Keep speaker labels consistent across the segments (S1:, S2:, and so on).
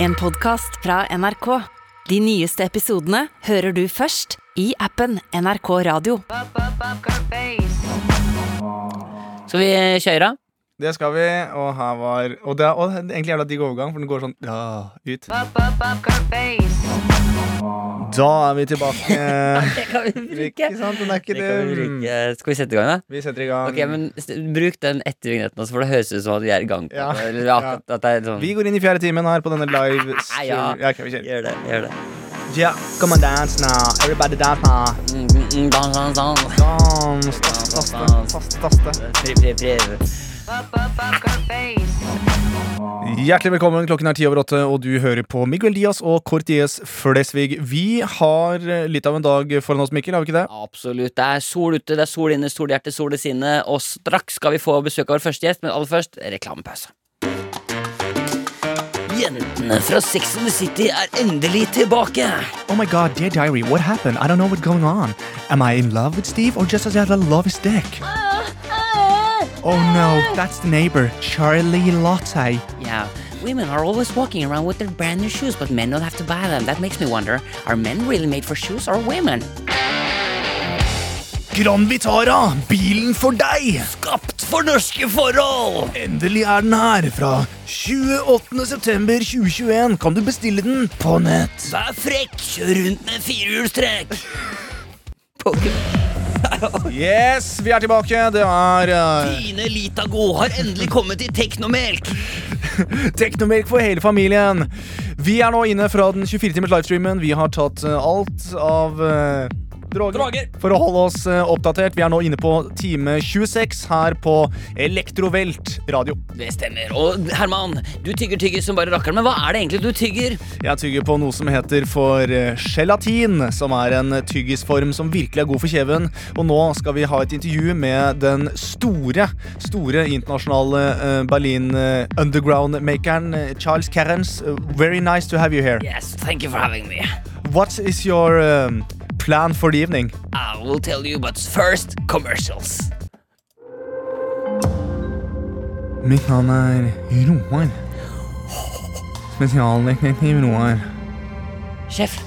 S1: En podcast fra NRK. De nyeste episodene hører du først i appen NRK Radio.
S2: Skal vi eh, kjøre?
S3: Det skal vi, og her var Og det er, og det er egentlig jævla digg overgang, for den går sånn ja, ut. Da er vi tilbake.
S2: Det kan vi
S3: Ikke sant? Den er ikke det.
S2: Skal vi sette i gang, da?
S3: Vi setter i gang.
S2: Ok, men s- Bruk den etter vignetten, også, for det høres ut som at vi er i gang. på
S3: Ja.
S2: det, Eller akkurat at det er sånn
S3: Vi går inn i fjerde timen her på denne live
S2: Nei, ja.
S3: ja ok, vi kjører.
S2: Gjør det. gjør det
S3: Ja, come on, dance now. Everybody dance now.
S2: Mm, mm, mm, dans, dans, dans.
S3: Dans, taste, taste, taste, taste.
S2: Pri, pri, pri.
S3: Hjertelig velkommen. Klokken er ti over åtte, og du hører på Miguel Diaz og Cortiez Flesvig. Vi har eh, litt av en dag foran oss, Mikkel, har vi ikke det?
S2: Absolutt. Det er sol ute, det er sol inne, solhjerte, sol i sinne. Og straks skal vi få besøk av vår første gjest, men aller først reklamepause. Jentene fra Sex and the City er endelig tilbake.
S3: Oh my god, dear diary, what happened? I don't know what's going on. Am I in love with Steve or just as I love his dick? Oh no, that's the neighbor, Charlie Latte.
S2: Yeah, women are always walking around with their brand new shoes, but men don't have to buy them. That makes me wonder are men really made for shoes or women?
S3: Grand Vitara, bilen for deg!
S2: Skapt for norske forhold!
S3: Endelig er den her. Fra 28. september 2021 kan du bestille den på nett.
S2: Vær frekk, kjør rundt med firehjulstrekk!
S3: Yes, vi er tilbake. Det er uh,
S2: Ine Litago har endelig kommet i Teknomelk!
S3: Teknomelk for hele familien. Vi er nå inne fra den 24-timers livestreamen. Vi har tatt eh, alt av eh, droger.
S2: Droger.
S3: For å holde oss eh, oppdatert, vi er nå inne på time 26 her på Elektrovelt radio.
S2: Det stemmer. Og Herman, du tygger tygger som bare rakkeren, men hva er det egentlig du tygger?
S3: Jeg tygger på noe som heter for eh, gelatin, som er en tyggisform som virkelig er god for kjeven. Og nå skal vi ha et intervju med den store, store internasjonale eh, Berlin eh, underground-makeren eh, Charles Kerrens. Very nice to have you here.
S2: Yes, thank you for having me.
S3: What is your um, plan for the evening?
S2: I will tell you, but first, commercials.
S3: Mitt navn er Roar. Spesialdetektiv Roar.
S2: Sjef,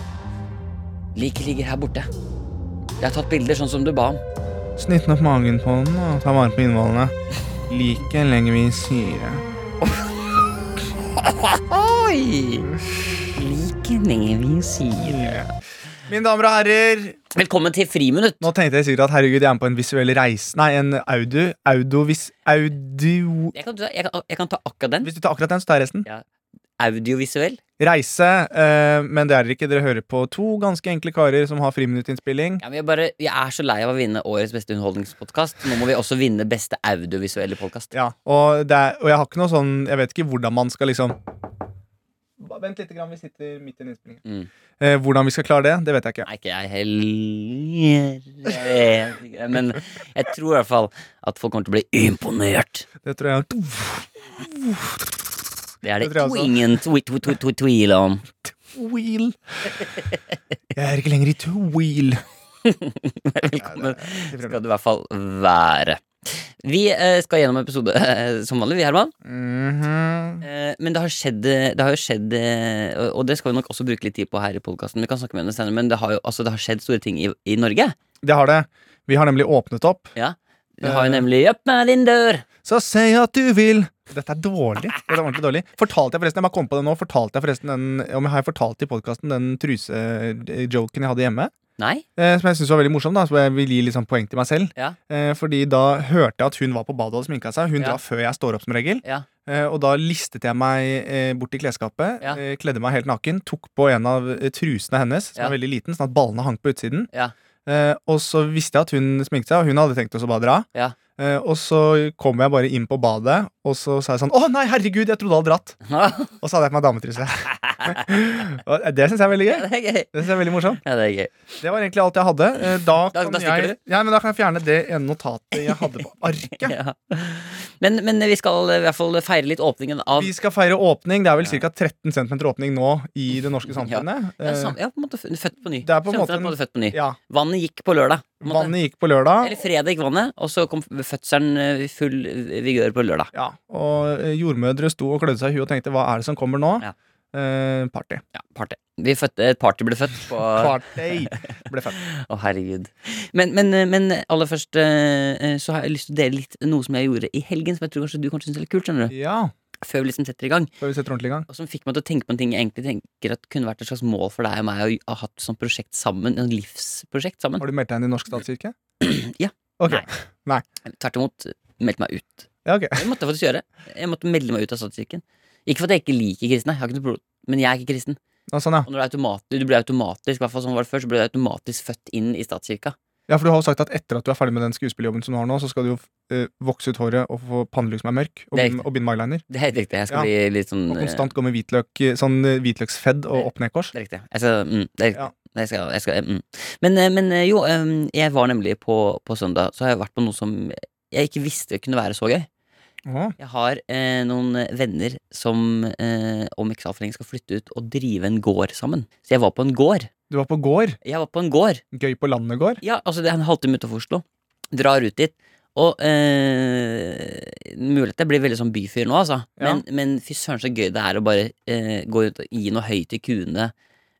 S2: liket ligger her borte. Jeg har tatt bilder sånn som du ba om.
S3: Snitte opp magen på den og ta vare på innvollene. Liket legger vi i syre.
S2: Oi! Liker vi sier.
S3: Mine damer og herrer,
S2: Velkommen til Friminutt.
S3: nå tenkte jeg sikkert at herregud, jeg er med på en visuell reise Nei, en audio. Audovis... Audio...
S2: Jeg kan, ta- jeg, kan, jeg kan ta akkurat den.
S3: Hvis du tar akkurat den, så tar jeg resten.
S2: Audiovisuell.
S3: Reise, eh, men det er dere ikke. Dere hører på to ganske enkle karer som har friminuttinnspilling.
S2: Ja, men jeg, bare, jeg er så lei av å vinne årets beste underholdningspodkast. Nå må vi også vinne beste audiovisuelle podkast.
S3: Ja, og, det er, og jeg har ikke noe sånn Jeg vet ikke hvordan man skal liksom Ba- Vent litt, grann, vi sitter midt i en innspilling.
S2: Mm.
S3: Eh, hvordan vi skal klare det, det vet jeg ikke.
S2: Nei, ikke jeg heller. Men jeg tror i hvert fall at folk kommer til å bli imponert.
S3: Det tror jeg
S2: Det er det,
S3: Det tror jeg også.
S2: ingen twi- twi- twi- twi- tvil om.
S3: Wheel. Jeg er ikke lenger i two wheel.
S2: Velkommen skal du i hvert fall være. Vi eh, skal gjennom episode eh, som vanlig, vi, Herman.
S3: Mhm.
S2: Eh, Men det har skjedd, eh, det har jo skjedd eh, og- Og det skal vi nok også bruke litt tid på her i podkasten. Vi kan snakke med henne senere, men det har jo altså, det har skjedd store ting i, i Norge.
S3: Det har det. Vi har nemlig åpnet opp.
S2: Ja. Vi har jo
S3: Eh.
S2: nemlig Opp med din dør!
S3: Så si at du vil Dette er dårlig. Dette er ordentlig dårlig. Fortalte jeg forresten, jeg bare kom på det nå Fortalte jeg forresten den om jeg har fortalt i podkasten den trusejoken jeg hadde hjemme?
S2: Nei?
S3: Eh, som jeg synes var veldig morsom, da, så jeg vil gi litt sånn poeng til meg selv.
S2: Ja.
S3: Eh, fordi da hørte jeg at hun var på badet og hadde sminka seg. Hun
S2: Ja.
S3: drar før jeg står opp, som regel.
S2: Ja.
S3: Eh, og da listet jeg meg eh, bort til klesskapet,
S2: Ja.
S3: eh, kledde meg helt naken, tok på en av eh, trusene hennes, som
S2: Ja.
S3: er veldig liten, sånn at ballene hang på utsiden.
S2: Ja.
S3: Eh, og så visste jeg at hun sminket seg, og hun hadde tenkt å så bare dra.
S2: Ja.
S3: Eh, og så kom jeg bare inn på badet, og så sa jeg sånn Å nei, herregud, jeg trodde jeg hadde dratt. Og så hadde jeg på meg dametruse. og det syns jeg er veldig gøy.
S2: Ja, det er gøy.
S3: Det synes jeg er veldig morsomt.
S2: Ja, det er gøy.
S3: Det var egentlig alt jeg hadde. Eh, Da
S2: Da-
S3: kan,
S2: da stikker
S3: jeg, ja, men da kan jeg fjerne det ene notatet jeg hadde på arket.
S2: Ja. Men, men vi skal i hvert fall feire litt åpningen av
S3: Vi skal feire åpning. Det er vel ca. 13 cm åpning nå i det norske samfunnet.
S2: ja, sam,
S3: Eh,
S2: ja, på en måte f- født på ny.
S3: Det er på en
S2: Kjente
S3: måte
S2: deg
S3: en-
S2: født på ny.
S3: Ja,
S2: Vannet gikk på lørdag. på en måte.
S3: Vannet gikk på lørdag,
S2: Eller fredag gikk vannet, og så kom fødselen eh, i full vigør på lørdag.
S3: ja, og eh, jordmødre sto og klødde seg i huet og tenkte 'hva er det som kommer nå'?
S2: Ja.
S3: eh, party.
S2: Ja, party. Vi fødte, et party ble født på Å,
S3: Party ble fett.
S2: herregud. Men, men, men eh, aller først eh, så har jeg lyst til å dele litt noe som jeg gjorde i helgen, som jeg tror kanskje du kanskje syns er litt kult, skjønner du.
S3: Ja,
S2: Før vi liksom setter i gang.
S3: før vi setter ordentlig i gang.
S2: Og som fikk meg til å tenke på en ting jeg egentlig tenker at kunne vært et slags mål for deg og meg å ha hatt et sånt prosjekt sammen. Et livsprosjekt sammen.
S3: Har du meldt deg inn i Norsk statskirke?
S2: Ja.
S3: Ok.
S2: Nei. Tvert imot meldte meg ut.
S3: Ja, ok.
S2: Det måtte jeg faktisk gjøre. Jeg måtte melde meg ut av statskirken. Ikke for at jeg ikke liker kristne, jeg har ikke noe pro- men jeg er ikke kristen.
S3: Ja, sånn, ja.
S2: Og når du, er automat, du blir automatisk, i hvert fall sånn var det før, så blir du automatisk født inn i statskirka.
S3: ja, for du har jo sagt at etter at du er ferdig med den skuespilljobben som du har nå, så skal du jo eh, vokse ut håret og få pannelugg som er mørk, og,
S2: Det er
S3: binde- og binde med eyeliner.
S2: Det er helt riktig. Jeg
S3: Ja.
S2: skal bli litt sånn
S3: Og
S2: eh,
S3: konstant gå med hvitløk, eh, sånn eh, hvitløksfedd og opp ned kors.
S2: Det er riktig. Jeg skal, mm, det er riktig.
S3: Ja.
S2: Jeg skal, jeg skal, mm. men, eh, men eh, jo, em, jeg var nemlig på, på søndag, så har jeg vært på noe som jeg ikke visste kunne være så gøy.
S3: Åh,
S2: Jeg har eh, noen venner som eh, om ikke så altfor lenge skal flytte ut og drive en gård sammen. Så jeg var på en gård.
S3: du var på gård.
S2: Jeg var på en gård.
S3: Gøy på landet gård.
S2: Ja, altså det er en halvtime utenfor Oslo. Drar ut dit. Og eh, mulig at jeg blir veldig sånn byfyr nå, altså.
S3: Ja.
S2: Men, men fy søren så gøy det er å bare eh, gå ut og gi noe høy til kuene.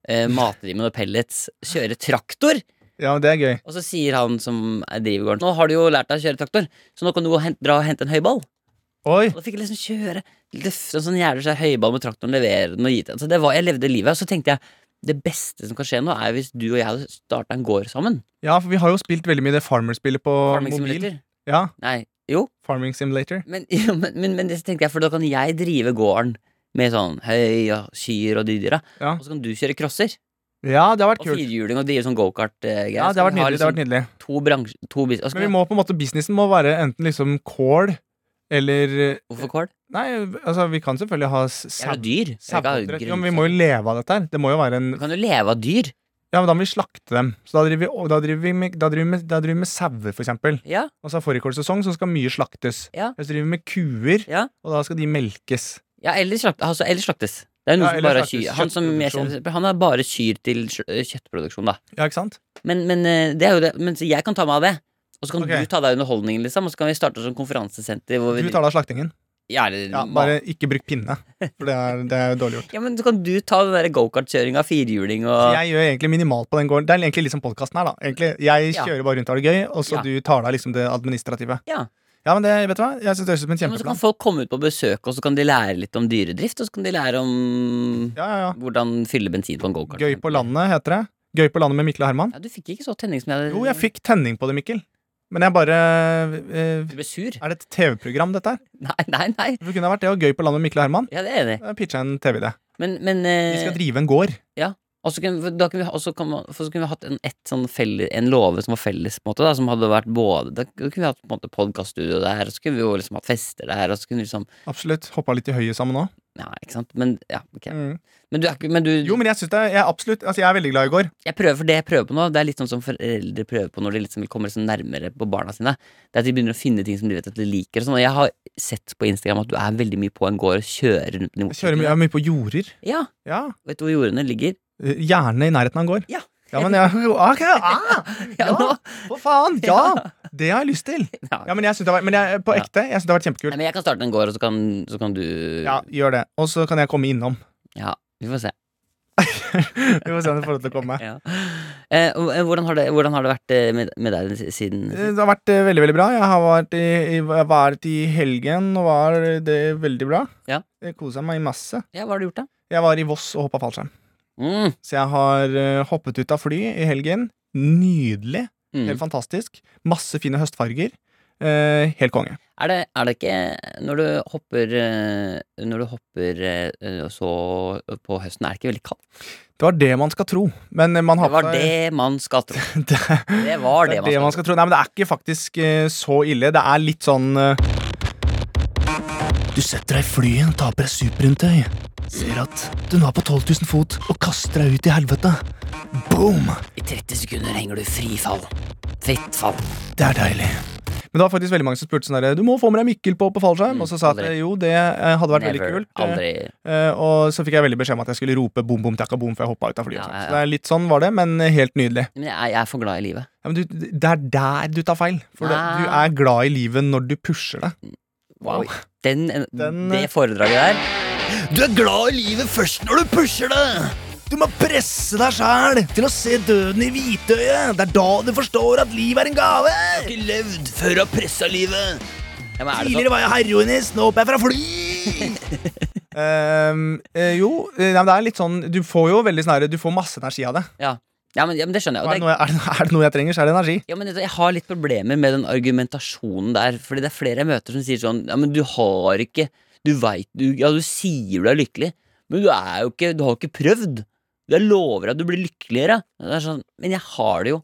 S2: Eh, mate de med noe pellets. Kjøre traktor!
S3: Ja, men det er gøy.
S2: Og så sier han som driver gården Nå har du jo lært deg å kjøre traktor, så nå kan du gå og hent, dra og hente en høyball.
S3: Oi,
S2: Og da fikk jeg liksom kjøre løfte en sånn jævlig svær høyball med traktoren, levere den og gi til altså, det var, Jeg levde livet. Og så tenkte jeg det beste som kan skje nå, er hvis du og jeg hadde starta en gård sammen.
S3: ja, for vi har jo spilt veldig mye det Farmer-spillet på
S2: Farming
S3: mobil.
S2: Simulator.
S3: Ja,
S2: Nei, jo.
S3: Farming Simulator.
S2: Men, jo, men, men, men det tenkte jeg, for da kan jeg drive gården med sånn høy og kyr og de dyra.
S3: Ja.
S2: Og så kan du kjøre crosser
S3: Ja, det har vært
S2: og
S3: kult.
S2: firhjuling og drive sånn gokart-greier.
S3: Ja, det har vært nydelig. det har vært nydelig.
S2: liksom To bransjer, to bis... og så
S3: Men
S2: kan
S3: vi må på en måte, businessen må være enten liksom kål eller
S2: jeg- Hvorfor kål?
S3: Nei, altså vi kan selvfølgelig ha s-
S2: Jeg er jo
S3: sau.
S2: dyr. Jeg kan ha
S3: Saueoppdrett. Jo,
S2: grønnsaker.
S3: men vi må jo leve av dette her. Det må jo være en
S2: Du kan jo leve av dyr.
S3: Ja, men da må vi slakte dem. Så da driver vi, og da driver vi med, da driver vi med, da driver vi med sauer, for eksempel.
S2: Ja,
S3: Altså fårikålsesong, så skal mye slaktes.
S2: Ja.
S3: Så driver vi med kuer,
S2: Ja.
S3: og da skal de melkes.
S2: ja eller, slakt, altså, eller slaktes. Det er noen
S3: Ja,
S2: som
S3: eller
S2: bare har
S3: slaktes.
S2: kyr. Han, som jeg
S3: Kjøttproduksjon.
S2: kjenner- han har bare kyr til kjø- kjøttproduksjon, da.
S3: Ja, ikke sant?
S2: Men, men eh, det er jo det. Men så jeg kan ta meg av det. Og så kan
S3: Ok.
S2: du ta deg av underholdningen, liksom. Og så kan vi starte som konferansesenter. Hvor vi,
S3: Du tar deg av slaktingen.
S2: ja, eller,
S3: Ja, bare ikke bruk pinne, for det er, det er jo dårlig gjort.
S2: Ja, men så kan du ta den der gokartkjøringa, firhjuling
S3: Så
S2: og
S3: jeg gjør egentlig minimalt på den gården. Det er egentlig litt som podkasten her, da. Egentlig, jeg
S2: Ja.
S3: kjører bare rundt og har det gøy, og så
S2: Ja.
S3: du tar deg liksom det administrative.
S2: Ja.
S3: Ja, men det, vet du hva? Jeg synes det høres ut som en
S2: ja, men Så kan
S3: kjempeplan.
S2: folk komme ut på besøk, og så kan de lære litt om dyredrift, og så kan de lære om
S3: Ja, ja,
S2: hvordan fylle bensin på en gokart.
S3: ja. Gøy på landet heter det. Gøy på landet med Mikkel og Herman.
S2: Ja, du fikk ikke så tenning som jeg hadde
S3: Jo, jeg fikk tenning på det, Mikkel. Men jeg bare eh,
S2: Du ble sur?
S3: Er det et TV-program, dette her?
S2: Nei, nei, nei.
S3: Det kunne ha vært det, og Gøy på landet med Mikkel og Herman.
S2: Ja, det er jeg enig. i.
S3: Da pitcha jeg en TV-idé.
S2: Men, men
S3: Vi skal
S2: eh,
S3: drive en gård.
S2: Og så kunne, da kunne vi, ha- og så kan man, for så kunne vi hatt en, ett sånn felle, en låve som var felles, på en måte, da, som hadde vært både Da kunne vi hatt på en måte podkaststudio der, og så kunne vi jo liksom hatt fester der, og så kunne vi liksom
S3: Absolutt. Hoppa litt i høyet sammen òg.
S2: Ja, ikke sant? Men ja, ok.
S3: Mm.
S2: Men du er ikke Men du
S3: Jo, men jeg syns det er jeg er absolutt Altså, jeg er veldig glad i gård.
S2: Jeg prøver for det jeg prøver på nå, det er litt sånn som foreldre prøver på når de liksom vil komme liksom nærmere på barna sine. Det er at de begynner å finne ting som de vet at de liker. Og sånn. Og jeg har sett på Instagram at du er veldig mye på en gård og kjører rundt i
S3: Jeg kjører mye, jeg er mye på jorder.
S2: Ja,
S3: Ja.
S2: vet du hvor jordene ligger?
S3: Eh, Gjerne i nærheten av en gård.
S2: Ja.
S3: ja men jeg Ok, ah,
S2: Ja,
S3: Ja.
S2: nå.
S3: for faen! Ja! Det har jeg lyst til.
S2: Ja.
S3: Ja, men jeg synes det har vært, men jeg, på
S2: Ja.
S3: ekte, jeg syns det har vært
S2: Nei,
S3: kjempekult.
S2: men jeg kan starte en gård, og så kan, så kan du
S3: Ja, gjør det. Og så kan jeg komme innom.
S2: ja. Vi får se.
S3: Vi får se om jeg får lov til å komme.
S2: Ja. Eh, og, eh, hvordan, har det, hvordan har det vært eh, med, med deg s- siden
S3: Eh, Det har vært eh, veldig, veldig bra. Jeg har vært i, i, jeg var i helgen, og var eh, det veldig bra.
S2: Ja.
S3: Jeg kosa meg masse.
S2: Ja, hva har du gjort, da?
S3: Jeg var i Voss og hoppa fallskjerm.
S2: Mm.
S3: Så jeg har eh, hoppet ut av fly i helgen. Nydelig.
S2: Mm.
S3: Helt fantastisk. Masse fine høstfarger. Eh, helt konge.
S2: Er, det, er det ikke Når du hopper eh, Når du hopper eh, eh, så på høsten, er det ikke veldig kaldt?
S3: Det var det man skal tro. Men eh, man
S2: Det
S3: har
S2: var
S3: på seg-
S2: det man skal tro.
S3: det,
S2: Det var det,
S3: det man skal tro. Nei, men det er ikke faktisk eh, så ille. Det er litt sånn eh, Du setter deg i flyet, taper deg superrundtøy. Ser at du nå er på 12 000 fot og kaster deg ut i helvete. Boom!
S2: I 30 sekunder henger du frifall. Fritt fall.
S3: Det er deilig. Men det var faktisk veldig mange som spurte sånn der, du må få med deg Mikkel på, på fallskjerm.
S2: Mm,
S3: og så sa jeg at
S2: aldri.
S3: eh, jo, det eh, hadde vært veldig kult. eh,
S2: Aldri.
S3: eh, og så fikk jeg veldig beskjed om at jeg skulle rope bom, bom, takka, bom, for jeg hoppa ut av flyet.
S2: Ja,
S3: og sånt.
S2: ja, ja.
S3: Så det er litt sånn var det, men helt nydelig.
S2: Men jeg, er- jeg er for glad i livet.
S3: Ja, men du, det er der du tar feil. For det,
S2: Nei.
S3: du er glad i livet når du pusher det.
S2: Oi. Den,
S3: Den, eh,
S2: det foredraget der
S3: Du er glad i livet først når du pusher det. Du må presse deg sjæl til å se døden i hvitøyet. Det er da du forstår at livet er en gave.
S2: ikke levd før du har pressa livet. Ja, men er det sånn?
S3: Tidligere var jeg heroinist, nå hopper jeg fra fly. jo, eh, nei, men det er litt sånn Du får jo veldig sånn her- Du får masse energi av det.
S2: Ja. Ja, men, ja, men det skjønner jeg. Og
S3: Er det,
S2: det,
S3: noe jeg, er, det, er det noe jeg trenger, så er det energi.
S2: Ja, men vet du, Jeg har litt problemer med den argumentasjonen der. Fordi det er flere jeg møter som sier sånn Ja, men du har ikke Du veit du, Ja, du sier du er lykkelig, men du er jo ikke Du har jo ikke prøvd. Jeg lover at du blir lykkeligere. Det er sånn, men jeg har det jo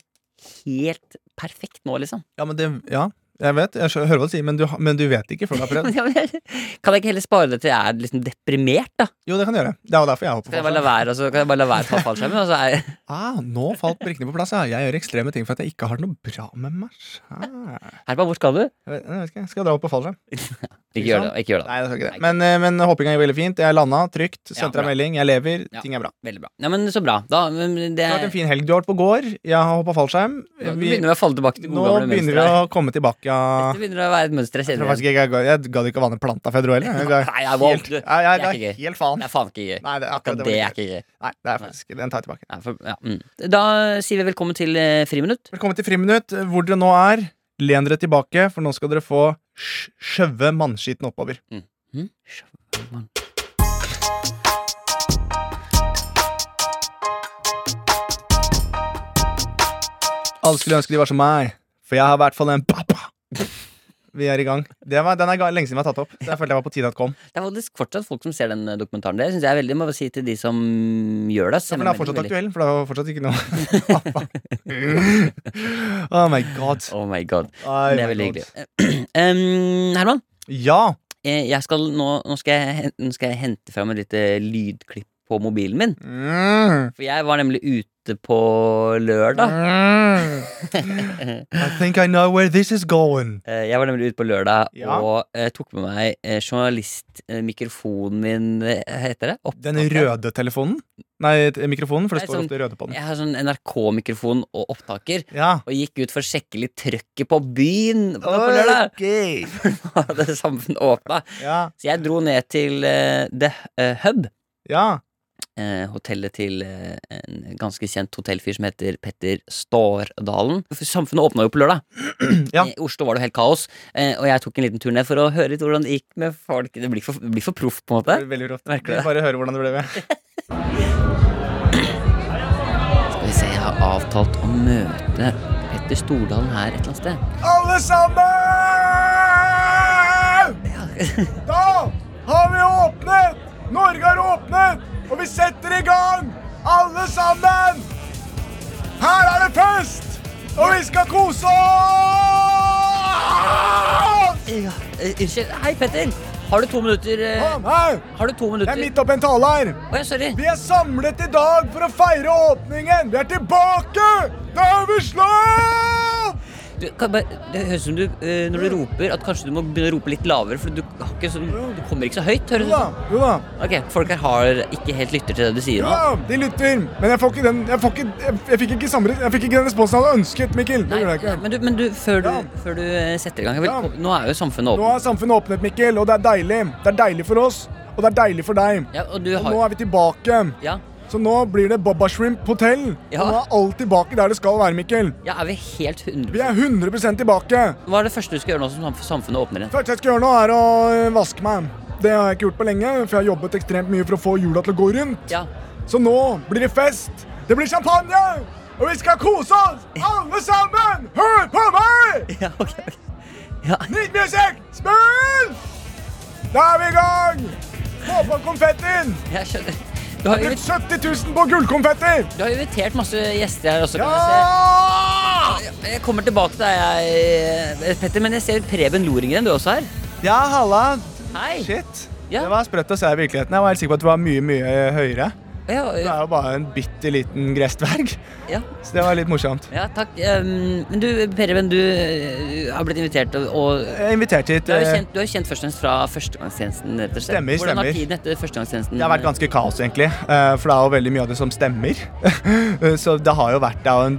S2: helt perfekt nå, liksom.
S3: Ja, men det, ja, jeg vet, jeg skjø- hører hva du sier, men du, ha- men du vet ikke før du har prøvd.
S2: Ja, men jeg- Kan jeg ikke heller spare det til jeg er liksom deprimert, da?
S3: Jo, det kan du gjøre. Det er jo derfor jeg hopper
S2: Kan jeg
S3: på
S2: bare la være, og så kan jeg bare la være å ta fallskjermen? Og så er
S3: Ah, nå falt brikkene på plass. Ja. Jeg gjør ekstreme ting for at jeg ikke har det noe bra med meg sjæl.
S2: Herman, hvor skal du?
S3: Jeg vet, jeg vet ikke, Skal jeg dra opp på fallskjerm?
S2: Ikke gjør det. ikke gjør det
S3: Nei, jeg skal ikke det. Men, eh, men hoppinga gikk veldig fint. Jeg landa trygt.
S2: Ja,
S3: Sendte
S2: bra.
S3: deg melding. Jeg lever.
S2: Ja.
S3: Ting er bra.
S2: Veldig bra. Ja, men Så bra. Da, men det
S3: Det har vært en fin helg. Du har vært på gård. Jeg har hoppa fallskjerm.
S2: Nå
S3: Vi,
S2: begynner vi å falle tilbake til
S3: nå
S2: gode gamle
S3: begynner
S2: mønstre.
S3: vi
S2: her.
S3: å komme tilbake. Ja.
S2: Det begynner å være et mønster jeg
S3: Jeg, tror
S2: kjenner.
S3: faktisk ikke jeg, ga- jeg gadd ikke å vanne planta før jeg dro heller. Jeg ga-
S2: Nei, jeg var-
S3: helt-
S2: du,
S3: Nei,
S2: det er
S3: jeg- det er
S2: ikke Det
S3: helt faen.
S2: er faen ikke gøy.
S3: Nei, det er akkurat
S2: Akkurat
S3: det.
S2: det
S3: var
S2: er
S3: ikke-
S2: ikke gøy.
S3: Nei, det er faktisk Den tar jeg tilbake.
S2: Nei, for, ja, mm. Da sier vi velkommen til eh, friminutt.
S3: Velkommen til Friminutt. Hvor dere nå er, len dere tilbake, for nå skal dere få sj- skjøve mannskitten oppover.
S2: Mm.
S3: Alle skulle ønske de var som meg, for jeg har i hvert fall en pappa. Vi er i gang. Det var, den er ga- lenge siden vi har tatt opp. Så jeg følte jeg var på tide at kom.
S2: Det er faktisk fortsatt folk som ser den eh, dokumentaren. Det synes jeg er veldig, må jeg si til de som gjør det.
S3: Ja,
S2: send
S3: men den er
S2: meg
S3: fortsatt
S2: melding,
S3: aktuell, for det var fortsatt ikke noe Oh my god.
S2: veldig. Oh my god. Det
S3: Ai,
S2: er
S3: my
S2: veldig
S3: god.
S2: hyggelig. Em, Herman,
S3: Ja.
S2: eh, jeg skal nå, nå, skal jeg, hen- nå skal jeg hente fram et lite lydklipp på mobilen min.
S3: Mm.
S2: For jeg var nemlig ute på lørdag.
S3: Mm. I think I know where this is going.
S2: Eh, Jeg var nemlig ute på lørdag
S3: Ja.
S2: og eh, tok med meg eh, journalistmikrofonen min eh, Heter det? Opp-
S3: Den røde telefonen? Nei, t- mikrofonen, for det
S2: Nei,
S3: står
S2: sånn-
S3: ofte røde på den.
S2: Jeg har sånn NRK-mikrofon og opptaker.
S3: Ja.
S2: Og gikk ut for å sjekke litt trøkket på byen på på lørdag.
S3: Ok.
S2: Nå hadde samfunnet åpna.
S3: Ja.
S2: Så jeg dro ned til eh, The eh, Hub.
S3: ja.
S2: eh, hotellet til eh, en ganske kjent hotellfyr som heter Petter Stårdalen. For Samfunnet åpna jo på lørdag.
S3: Ja.
S2: I Oslo var det jo helt kaos. eh, Og jeg tok en liten tur ned for å høre litt hvordan det gikk med folk. Det blir for, det blir for proft, på en måte.
S3: Det blir Veldig rått.
S2: Merker
S3: Vi
S2: det.
S3: Bare høre hvordan det ble med.
S2: Skal vi se, jeg har avtalt å møte Petter Stordalen her et eller annet sted.
S3: Alle sammen! Da har vi åpnet! Norge har åpnet! Og vi setter i gang! Alle sammen! Her er det fest! Og vi skal kose oss!
S2: Ja, eh, unnskyld. Hei, Petter. Har du to minutter? eh,
S3: Kom Sånn, her!
S2: Har du to
S3: Jeg er
S2: minutter?
S3: midt oppi en tale her.
S2: Å ja, sorry.
S3: Vi er samlet i dag for å feire åpningen. Vi er tilbake! Da er vi slått!
S2: Du, kan bare, det høres ut som du, eh, når du
S3: Mm.
S2: roper, at kanskje du må begynne å rope litt lavere, for du, har ikke sånn, du kommer ikke så høyt, høres det
S3: Jo da,
S2: ut som.
S3: jo da.
S2: Ok, folk her har ikke helt lytter til det du sier
S3: Jo
S2: nå.
S3: da, de lytter. Men jeg får ikke den Jeg, får ikke, jeg, jeg fikk ikke samme Jeg fikk ikke den responsen jeg hadde ønsket, Mikkel. Det
S2: Nei,
S3: gjorde jeg ikke.
S2: men du, men du, før du,
S3: Ja.
S2: før du eh, setter i gang vel,
S3: Ja.
S2: Nå er jo samfunnet
S3: Nå
S2: åpent.
S3: er samfunnet åpnet, Mikkel, og det er deilig. Det er deilig for oss, og det er deilig for deg.
S2: Ja, og du
S3: Og nå
S2: har
S3: er vi tilbake.
S2: ja.
S3: Så nå blir det Baba Shrimp Hotel.
S2: Ja.
S3: Og nå er alt tilbake der det skal være, Mikkel.
S2: ja, er vi helt 100
S3: Vi er 100 tilbake.
S2: Hva er det første du skal gjøre nå som samf- samfunnet åpner igjen?
S3: Første jeg skal gjøre nå, er å øh, vaske meg. Det har jeg ikke gjort på lenge, for jeg har jobbet ekstremt mye for å få jula til å gå rundt.
S2: Ja.
S3: Så nå blir det fest. Det blir champagne! Og vi skal kose oss, alle sammen! Hør på meg!
S2: Ja, ok, ok. Ja.
S3: Litt musikk! Spill! Da er vi i gang! Få på konfettien!
S2: Jeg skjønner. Du har,
S3: Brukt
S2: invit-
S3: 70 000 på gullkonfetti!
S2: du har invitert masse gjester her også, kan jeg
S3: Ja!
S2: se. Jeg kommer tilbake til deg, jeg, eh, Petter, men jeg ser Preben Loringen, du er også her.
S3: Ja, halla.
S2: Hei.
S3: Shit.
S2: Ja.
S3: Det var sprøtt å se i virkeligheten. Jeg var helt sikker på at det var mye, mye høyere.
S2: Ja,
S3: Du er jo bare en bitte liten gressdverg.
S2: Ja.
S3: Så det var litt morsomt.
S2: ja takk. Um, men du, Perven, du eh, har blitt invitert, og, og
S3: Jeg er invitert hit.
S2: du er jo
S3: eh,
S2: kjent, du er jo kjent først og fremst fra førstegangstjenesten. rett og slett.
S3: Stemmer,
S2: Hvordan
S3: stemmer.
S2: har tiden etter førstegangstjenesten
S3: Det har vært ganske kaos, egentlig. eh, For det er jo veldig mye av det som stemmer. Eh, Så det har jo vært det er jo en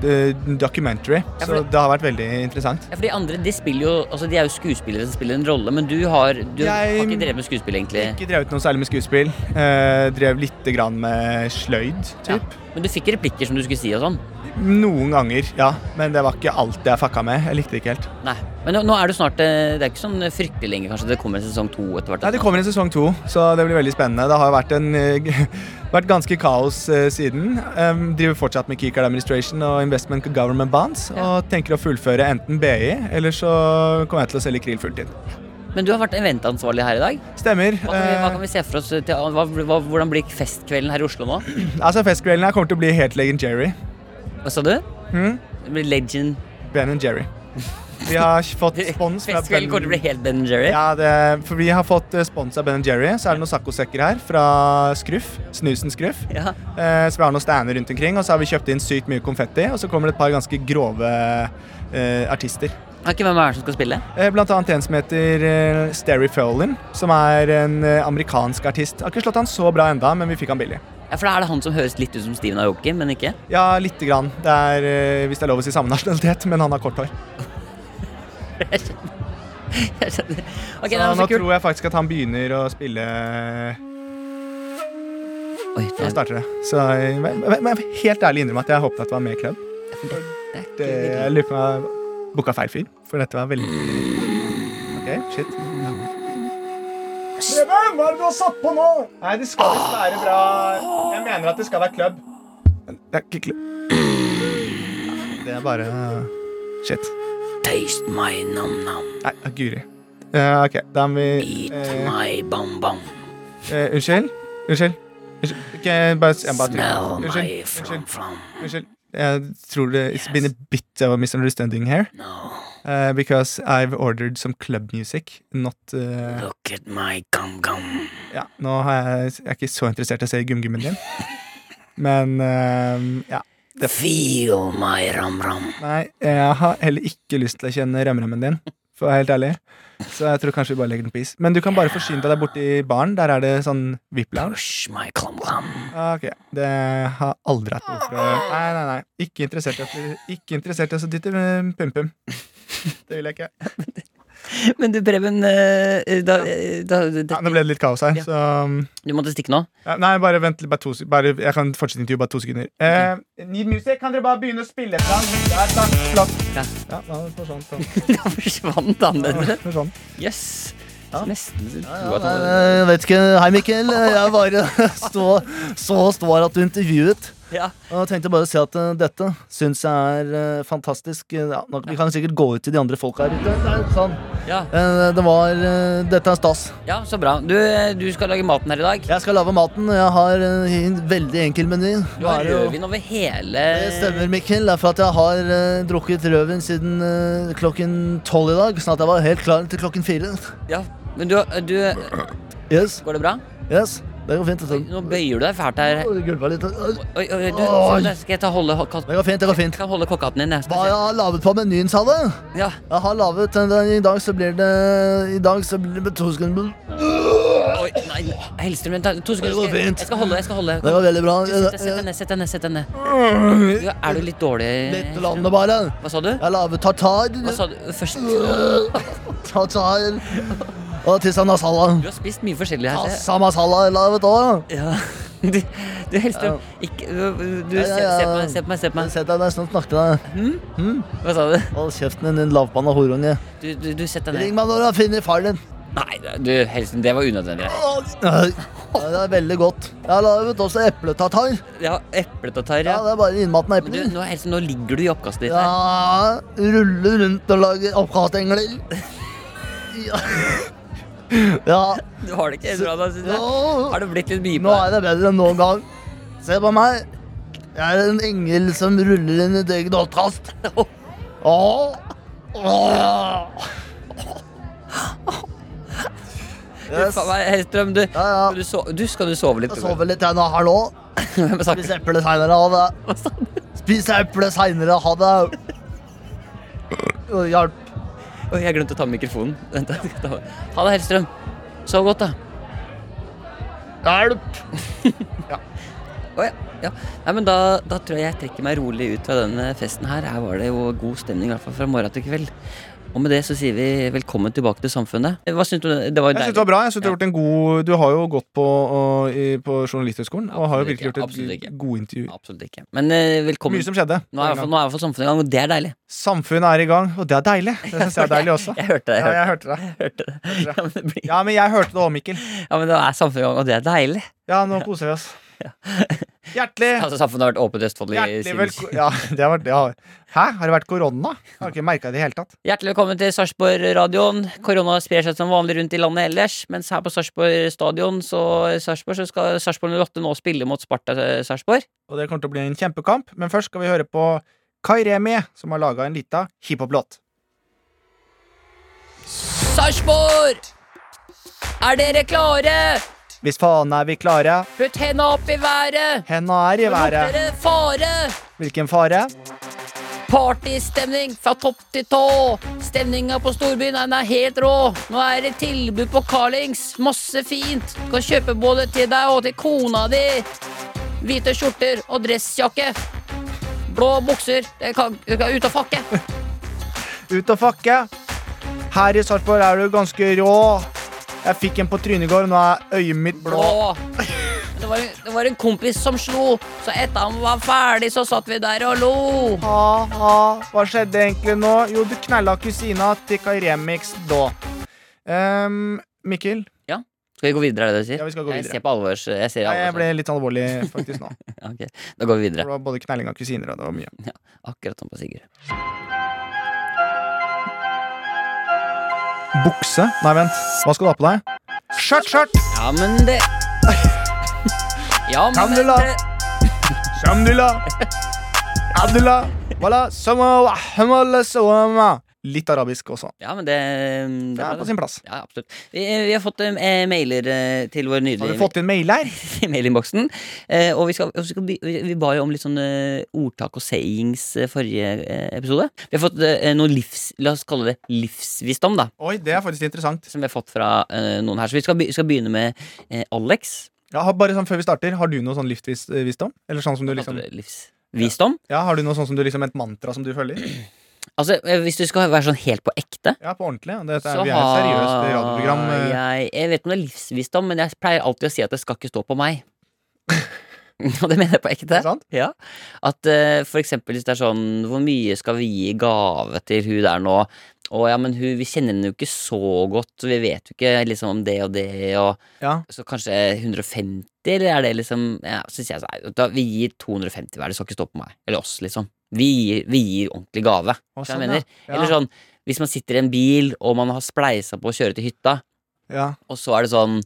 S3: eh, documentary,
S2: Ja, for
S3: så
S2: det-
S3: det har vært veldig interessant.
S2: Ja, for De andre de spiller jo, altså de er jo skuespillere som spiller en rolle, men du har, du har
S3: Jeg-
S2: ikke drevet med skuespill, egentlig.
S3: Ikke drevet noe særlig med skuespill. eh, Drev lite grann med sløyd,
S2: Ja.
S3: typ.
S2: Men du fikk replikker som du skulle si og sånn.
S3: Noen ganger, ja. Men det var ikke alt jeg fucka med. Jeg likte det ikke helt.
S2: Nei. Men nå, nå er du snart eh, Det er ikke sånn fryktelig lenge, kanskje. Det kommer en sesong to etter hvert.
S3: Nei, Det kommer en sesong to, så det blir veldig spennende. Det har jo vært, en, eh, vært ganske kaos eh, siden. Em, driver fortsatt med Keycard Administration og Investment and Government Bonds.
S2: Ja.
S3: Og tenker å fullføre enten BI, eller så kommer jeg til å selge krill fulltid.
S2: Men du har vært eventansvarlig her i dag.
S3: Stemmer.
S2: Hva kan vi, hva kan vi
S3: Eh,
S2: se for oss til hva, hva, Hvordan blir festkvelden her i Oslo nå?
S3: altså Festkvelden her kommer til å bli helt legendary.
S2: Hva sa du?
S3: Hm?
S2: Det blir Legend
S3: Ben and Jerry. Vi har fått spons fra
S2: Festkvelden kommer til å bli helt Ben Jerry.
S3: Ja, det, for vi har fått eh, spons av Ben Jerry. Så er det noen saccosekker her fra Skruff. Snusen Skruff.
S2: Ja.
S3: Eh, så vi har noen stander rundt omkring, og så har vi kjøpt inn sykt mye konfetti. Og så kommer det et par ganske grove eh, artister.
S2: Ok, hvem er det som skal spille?
S3: Eh, blant annet en som heter eh, Steri Furlin, som er en eh, amerikansk artist. Har ikke slått han så bra enda, men vi fikk han billig.
S2: Ja, For da er det han som høres litt ut som Steven Aoki, men ikke?
S3: Ja, lite grann. Det er, eh, hvis det er lov å si samme nasjonalitet, men han har kort hår.
S2: Jeg skjønner. Ok,
S3: Så
S2: nei, men
S3: nå
S2: så kult.
S3: tror jeg faktisk at han begynner å spille
S2: Oi, det
S3: Nå
S2: er,
S3: starter det. Så jeg, men- men- men helt ærlig innrømme at jeg håpet at det var mer klødd.
S2: det er
S3: Det,
S2: ikke-
S3: jeg lurer på om jeg booka feil fyr, for dette var veldig OK, shit. Preben, hva er det du har satt på nå? Nei, det skal visst være bra Jeg mener at det skal være klubb. Det er ikke klubb. Det er bare eh, Shit.
S2: Taste my nam-nam,
S3: Nei, det er guri. Eh, OK, da må vi
S2: eat
S3: eh,
S2: my bam-bam,
S3: eh, Unnskyld? Unnskyld? Unnskyld. Ikke bare, jeg bare
S2: smell my
S3: Unnskyld. Unnskyld.
S2: from-from.
S3: Unnskyld. Jeg tror det it's been a bit of a misunderstanding here.
S2: No,
S3: eh, because I've ordered some club music, not eh,
S2: look at my gum-gum.
S3: Ja, nå har jeg, jeg er ikke så interessert i å se gumgummen din. Men eh, ja.
S2: Feel my ram-ram.
S3: Nei, jeg har heller ikke lyst til å kjenne rømmerømmen din, for å være helt ærlig. Så jeg tror kanskje vi bare legger den på is. Men du kan bare forsyne deg der borte i baren. Der er det sånn VIP-lounge.
S2: Push my klum-klum.
S3: Ah, Ok, det har aldri hatt behov for å Nei, nei, nei. Ikke interessert i at- ikke interessert i å dytte eh, pum-pum. Det vil jeg ikke.
S2: Men du, Preben, eh, da, eh, da,
S3: Ja,
S2: da
S3: nå ble det litt kaos her,
S2: Ja.
S3: så um,
S2: Du måtte stikke nå?
S3: ja, Nei, bare vent litt, bare to sek- bare, Jeg kan fortsette intervjuet bare to sekunder. Eh, need music, kan dere bare begynne å spille et eller annet? Ja, takk, flott.
S2: Ja.
S3: Ja, nå forsvant han.
S2: Da forsvant han den.
S3: Ja, forsvant.
S2: Jøss.
S4: Ja.
S2: Nesten så
S4: Ja,
S2: tro at
S4: nei,
S2: han
S4: jeg vet ikke. Hei, Mikkel. Jeg bare så, så stå her at du intervjuet.
S2: Ja.
S4: Og jeg tenkte bare å si at eh, dette syns jeg er eh, fantastisk. Ja, nå, vi kan sikkert gå ut til de andre folka her ute. Nei, Sånn.
S2: Ja.
S4: Eh, Det var eh, Dette er stas.
S2: ja, så bra. Du, eh, du skal lage maten her i dag.
S4: Jeg skal lage maten. Jeg har eh, en veldig enkel meny.
S2: Du har
S4: Nå er det jo-
S2: rødvin over hele
S4: Det stemmer, Mikkel. Det er for at jeg har eh, drukket rødvin siden eh, klokken tolv i dag. Sånn at jeg var helt klar til klokken fire.
S2: Ja, men du, eh, du
S4: Yes.
S2: Går det bra?
S4: Yes. Det går fint.
S2: Oi,
S4: dette.
S2: Nå bøyer du deg fælt her.
S4: Å, det gulva litt. Oi,
S2: Oi, oi, oi, du,
S4: Oi.
S2: se, skal jeg ta holde katt-
S4: Det går fint. det går fint
S2: Jeg kan holde kokkehatten din. Jeg
S4: Hva
S2: skal
S4: jeg har laget på menyen, sa du?
S2: se. Ja.
S4: Jeg har laget den der- I dag så blir det I dag så blir det to sekunder
S2: Oi, nei, nei, Hellstrøm, vent da. To sekunder.
S4: Det går
S2: skal jeg-
S4: fint.
S2: Jeg skal holde. jeg skal holde
S4: Det var veldig bra.
S2: Du, Sett deg- sett deg ned, sett deg ned. sett deg ned du, Er du litt dårlig?
S4: Litt landet, bare.
S2: Hva sa du?
S4: Jeg har laget tartar.
S2: Hva sa du først?
S4: Tartar. Og tissa masala.
S2: Du har spist mye forskjellig her. ser jeg.
S4: Tassa masala er laget òg.
S2: Ja. Du, du Hellstrøm, ikke Du,
S4: Ja,
S2: se,
S4: ja, ja.
S2: se på meg, se på meg. se på meg
S4: Sett deg ned, snart snakker jeg deg.
S2: Hva sa du?
S4: Hold kjeften din, din lavpanna horunge.
S2: Du, du, du sett deg
S4: Ring
S2: ned.
S4: meg når du har funnet faren din.
S2: Nei, du Hellstrøm, det var unødvendig.
S4: Nei, Det er veldig godt. Jeg har laget også epletartar.
S2: Ja, epletartar, ja.
S4: Ja, det er bare innmaten av
S2: Men du,
S4: epler.
S2: nå, Hellstrøm, nå ligger du i oppkastet ditt her.
S4: Ja, rulle rundt og lage oppkastengler. Ja. ja.
S2: Du har det ikke helt bra da, synes jeg.
S4: Jo,
S2: Har det blitt litt mye
S4: Nå
S2: på deg?
S4: er det bedre enn noen gang. Se på meg. Jeg er en engel som ruller inn et eget oppkast. Åh. Åh.
S2: Du,
S4: Yes.
S2: faen meg, Hellstrøm, du,
S4: Ja, ja.
S2: du, so du skal du sove litt?
S4: Jeg sover litt jeg nå her nå.
S2: Hvem sa
S4: Spis eple seinere, ha det. Spis eple seinere, ha det. Å, Hjelp.
S2: Oi, jeg glemte å ta med mikrofonen. Vent, jeg skal ta- Ha det, Hellstrøm. Sov godt, da.
S4: Hjelp.
S2: Å ja. ja. Nei, men da, da tror jeg jeg trekker meg rolig ut fra denne festen her. Her var det jo god stemning, i hvert fall fra morgen til kveld. Og med det så sier vi velkommen tilbake til samfunnet. Hva syns du? Det var jo
S3: Jeg synes det var bra. jeg synes Du har gjort en god Du har jo gått på, og, i, på Journalisthøgskolen og har jo
S2: Absolutt ikke,
S3: virkelig gjort
S2: absolutt
S3: et
S2: ikke.
S3: god intervju.
S2: Absolutt ikke. Men eh, velkommen.
S3: Mye som skjedde.
S2: Nå er i hvert fall- nå er i hvert fall samfunnet i gang, og det er deilig.
S3: Samfunnet er i gang, og det er deilig. Det synes jeg er deilig også.
S2: Jeg hørte det. Jeg
S3: Ja,
S2: hørte,
S3: jeg hørte
S2: hørte
S3: det.
S2: det. Ja, men, det blir,
S3: Ja, men jeg hørte det òg, Mikkel.
S2: ja, men det er samfunnet i gang, og det er deilig.
S3: Ja, nå koser vi oss. Hjertelig
S2: Altså, samfunnet har vært åpent i Østfold i
S3: Hjertelig
S2: siden-
S3: velkommen ja, det har vært, det har- Hæ? Har det vært korona? Jeg har ikke merka det i det hele tatt.
S2: Hjertelig velkommen til Sarpsborg-radioen. Korona sprer seg som vanlig rundt i landet ellers, mens her på Sarpsborg stadion så, Sarpsborg, så skal Sarpsborg 08 nå spille mot Sparta eh, Sarpsborg.
S3: Og det kommer til å bli en kjempekamp, men først skal vi høre på Kai Remi, som har laga en lita hiphop-låt.
S2: Sarpsborg! Er dere klare?
S3: Hvis faen er vi klare,
S2: Putt henda opp i været!
S3: henda er i været.
S2: Lukter det fare?
S3: Hvilken fare?
S2: Partystemning fra topp til tå. Stemninga på storbyen den er helt rå. Nå er det tilbud på Carlings. Masse fint. Du kan kjøpe både til deg og til kona di. Hvite skjorter og dressjakke. Blå bukser. Det kan, det kan ut og fakke.
S3: Ut og fucke. Her i Sarpsborg er du ganske rå. Jeg fikk en på trynet i går, nå er øyet mitt blå.
S2: Blå. Det var, det var en kompis som slo, så etter han var ferdig, så satt vi der og lo.
S3: Ha, ha. Hva skjedde egentlig nå? Jo, du knella kusina til Kai Remix da. Ehm, Mikkel,
S2: Skal vi gå videre, er det det du
S3: Ja, vi skal gå Jeg videre. ser
S2: på alvors. Jeg ser
S3: Nei, jeg ble litt alvorlig faktisk nå.
S2: Da går vi videre.
S3: For det var både knelling av kusiner og det var mye.
S2: Akkurat som på Sigurd.
S3: Bukse? Nei, vent. Hva skal du ha på deg? Skjørt, skjørt!
S2: Ja, men det Ja,
S3: Kan
S2: men
S3: du la-
S2: det
S3: Shamdula! Abdula! Wala, sama, hamala, sama. Litt arabisk også.
S2: Ja, men det, det er
S3: Det er
S2: bra,
S3: på
S2: det.
S3: sin plass.
S2: Ja, absolutt. Vi, vi har fått eh, mailer eh, til vår
S3: Har
S2: nydelige
S3: du fått inn mail her?
S2: mailinnboksen. Eh, og vi, skal, og så skal, vi, vi ba jo om litt sånn eh, ordtak og sayings eh, forrige eh, episode. Vi har fått eh, noe livs... La oss kalle det livsvisdom, da.
S3: Oi, det er faktisk interessant.
S2: Som vi har fått fra eh, noen her. Så vi skal, be- skal begynne med eh, Alex.
S3: Ja, har- bare sånn før vi starter, Har du noe sånn livsvisdom? Eller sånn som du
S2: Kalte
S3: liksom
S2: det Livsvisdom.
S3: Ja, Har du noe sånn som du liksom et mantra som du følger?
S2: Altså, eh, hvis du skal være sånn helt på ekte
S3: Ja, på ordentlig. ja. Dette er,
S2: så
S3: vi er et seriøst
S2: har
S3: radioprogram. eh.
S2: Jeg, jeg vet ikke om det er livsvisdom, men jeg pleier alltid å si at det skal ikke stå på meg. Og det mener jeg på ekte.
S3: Ikke sant?
S2: Ja. At eh, for eksempel hvis det er sånn Hvor mye skal vi gi i gave til hun der nå? Å ja, men hun, vi kjenner henne jo ikke så godt, så vi vet jo ikke liksom om det og det og
S3: Ja.
S2: Så kanskje 150, eller er det liksom ja, så sier jeg sånn, nei, da, Vi gir 250 hver, det skal ikke stå på meg. Eller oss, liksom. Vi gir, vi gir ordentlig gave.
S3: Å,
S2: Skjønner jeg
S3: sånn,
S2: mener.
S3: ja.
S2: Eller sånn, hvis man sitter i en bil og man har spleisa på å kjøre til hytta,
S3: Ja.
S2: og så er det sånn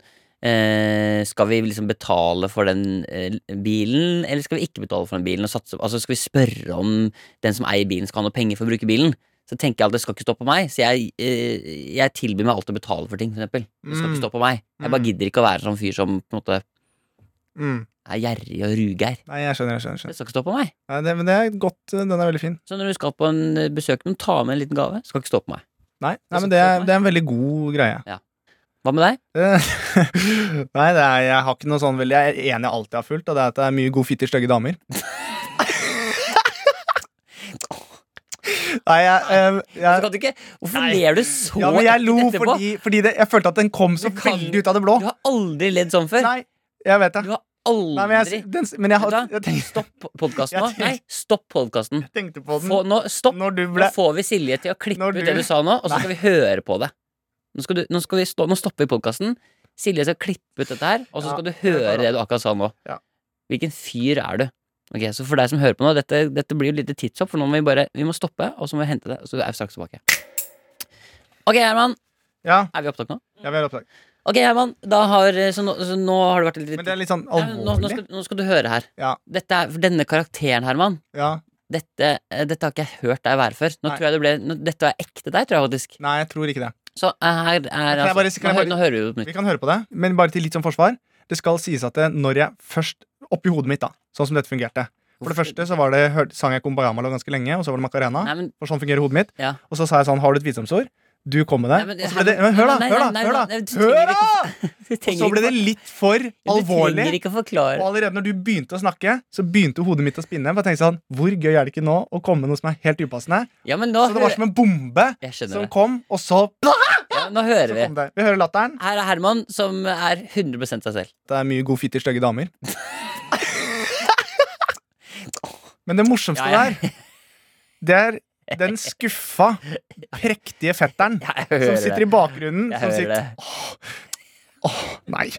S2: eh, Skal vi liksom betale for den eh, bilen, eller skal vi ikke betale for den bilen? Og satse, altså Skal vi spørre om den som eier bilen, skal ha noe penger for å bruke bilen? Så tenker jeg at det skal ikke stå på meg, så jeg, eh, jeg tilbyr meg alltid å betale for ting. For eksempel. det skal
S3: Mm.
S2: ikke stå på meg. Jeg bare
S3: Mm.
S2: gidder ikke å være sånn fyr som på en måte
S3: Mm.
S2: er gjerrig og rugeir.
S3: Nei, jeg skjønner. jeg skjønner, jeg skjønner.
S2: Det skal ikke stå på meg.
S3: Nei, det, men det er godt. eh, Den er veldig fin.
S2: Så når du skal på en eh, besøk med noen, ta med en liten gave. Skal ikke stå på meg.
S3: Nei,
S2: Det
S3: nei
S2: skal
S3: men det
S2: ikke stå
S3: er,
S2: på meg.
S3: det er en veldig god greie.
S2: Hva med deg?
S3: Eh, Nei, det er, jeg har ikke noe sånn veldig Jeg er enig i alt jeg har fulgt, og det er at det er mye god fitter, stygge damer. Nei, jeg, eh,
S2: Så
S3: jeg
S2: kan du ikke, hvorfor
S3: Nei.
S2: ler Altså, du så
S3: Ja, men jeg lo
S2: etterpå?
S3: fordi, fordi det, jeg følte at den kom så
S2: Du kan-
S3: veldig ut av det blå.
S2: Du har aldri ledd sånn før.
S3: Nei, jeg vet det.
S2: Du har
S3: Nei, men jeg,
S2: aldri
S3: den, men jeg, har-
S2: Vet du hva?
S3: jeg tenkte,
S2: Stopp podkasten nå.
S3: Jeg tenker-
S2: Nei, stopp podkasten.
S3: tenkte på den
S2: Nå, stopp.
S3: når du
S2: Nå
S3: ble
S2: får vi Silje til å klippe
S3: Når
S2: ut
S3: du-
S2: det du sa nå, og så skal vi høre på det. Nå, skal du, nå, skal vi stå, nå stopper vi podkasten. Silje skal klippe ut dette her, og så
S3: Ja,
S2: skal du
S3: det
S2: høre
S3: er bra.
S2: det du akkurat sa nå.
S3: Ja.
S2: Hvilken fyr er du? Ok, så for deg som hører på nå, dette, dette blir jo et lite tidshopp, for nå må vi bare Vi må stoppe, og så må vi hente det, og så er vi straks tilbake. Ok, Herman.
S3: Ja,
S2: Er vi i opptak nå?
S3: jeg vil oppdage.
S2: Ok, Herman. Da har, eh, så nå, så nå har det vært litt
S3: Men det er litt sånn
S2: Ja, men nå, nå,
S3: alvorlig.
S2: skal, nå skal du høre her.
S3: Ja.
S2: Dette er, for denne karakteren, Herman,
S3: Ja.
S2: dette, eh, dette har ikke jeg hørt deg være før. Nå
S3: Nei.
S2: tror jeg det ble, nå, dette var ekte deg, tror jeg faktisk.
S3: Nei, jeg tror ikke det.
S2: Så eh, her er
S3: jeg
S2: altså
S3: bare- kan
S2: nå,
S3: jeg
S2: hø-
S3: bare-
S2: nå hører vi jo på nytt.
S3: sånn Vi kan høre på det, men bare til litt som forsvar. Det skal sies at eh, når jeg først oppi hodet mitt, da. Sånn som dette fungerte. For det første så var det, hørte, sang jeg Kumbayamalo ganske lenge, og så var det Macarena.
S2: Nei, men
S3: For sånn fungerer hodet mitt.
S2: Ja.
S3: Og så sa jeg sånn, har du et visdomsord? Du kom med det.
S2: Nei, men-
S3: og så ble det men, Hør, da!
S2: Nei, nei,
S3: Hør,
S2: nei,
S3: da!
S2: nei,
S3: Hør,
S2: nei, du
S3: da!
S2: trenger
S3: Hør, da!
S2: du
S3: Og så ble det litt for
S2: Du trenger
S3: alvorlig.
S2: ikke å
S3: Og
S2: forklare.
S3: allerede når du begynte å snakke, så begynte hodet mitt å spinne. For jeg tenkte sånn, Hvor gøy er det ikke nå å komme med noe som er helt upassende?
S2: Ja, men nå,
S3: Så det var som en bombe
S2: jeg
S3: som
S2: skjønner det.
S3: kom, og så,
S2: Ja, nå
S3: så
S2: hører vi.
S3: kom det. Vi hører latteren.
S2: Her er Herman, som er 100 seg selv.
S3: Det er mye god fitt i stygge damer. Men det morsomste
S2: Ja, ja.
S3: der, det er den skuffa, prektige fetteren
S2: Ja, jeg
S3: som
S2: hører
S3: sitter i
S2: det.
S3: bakgrunnen.
S2: Jeg
S3: som
S2: hører
S3: sitter,
S2: det.
S3: Nei,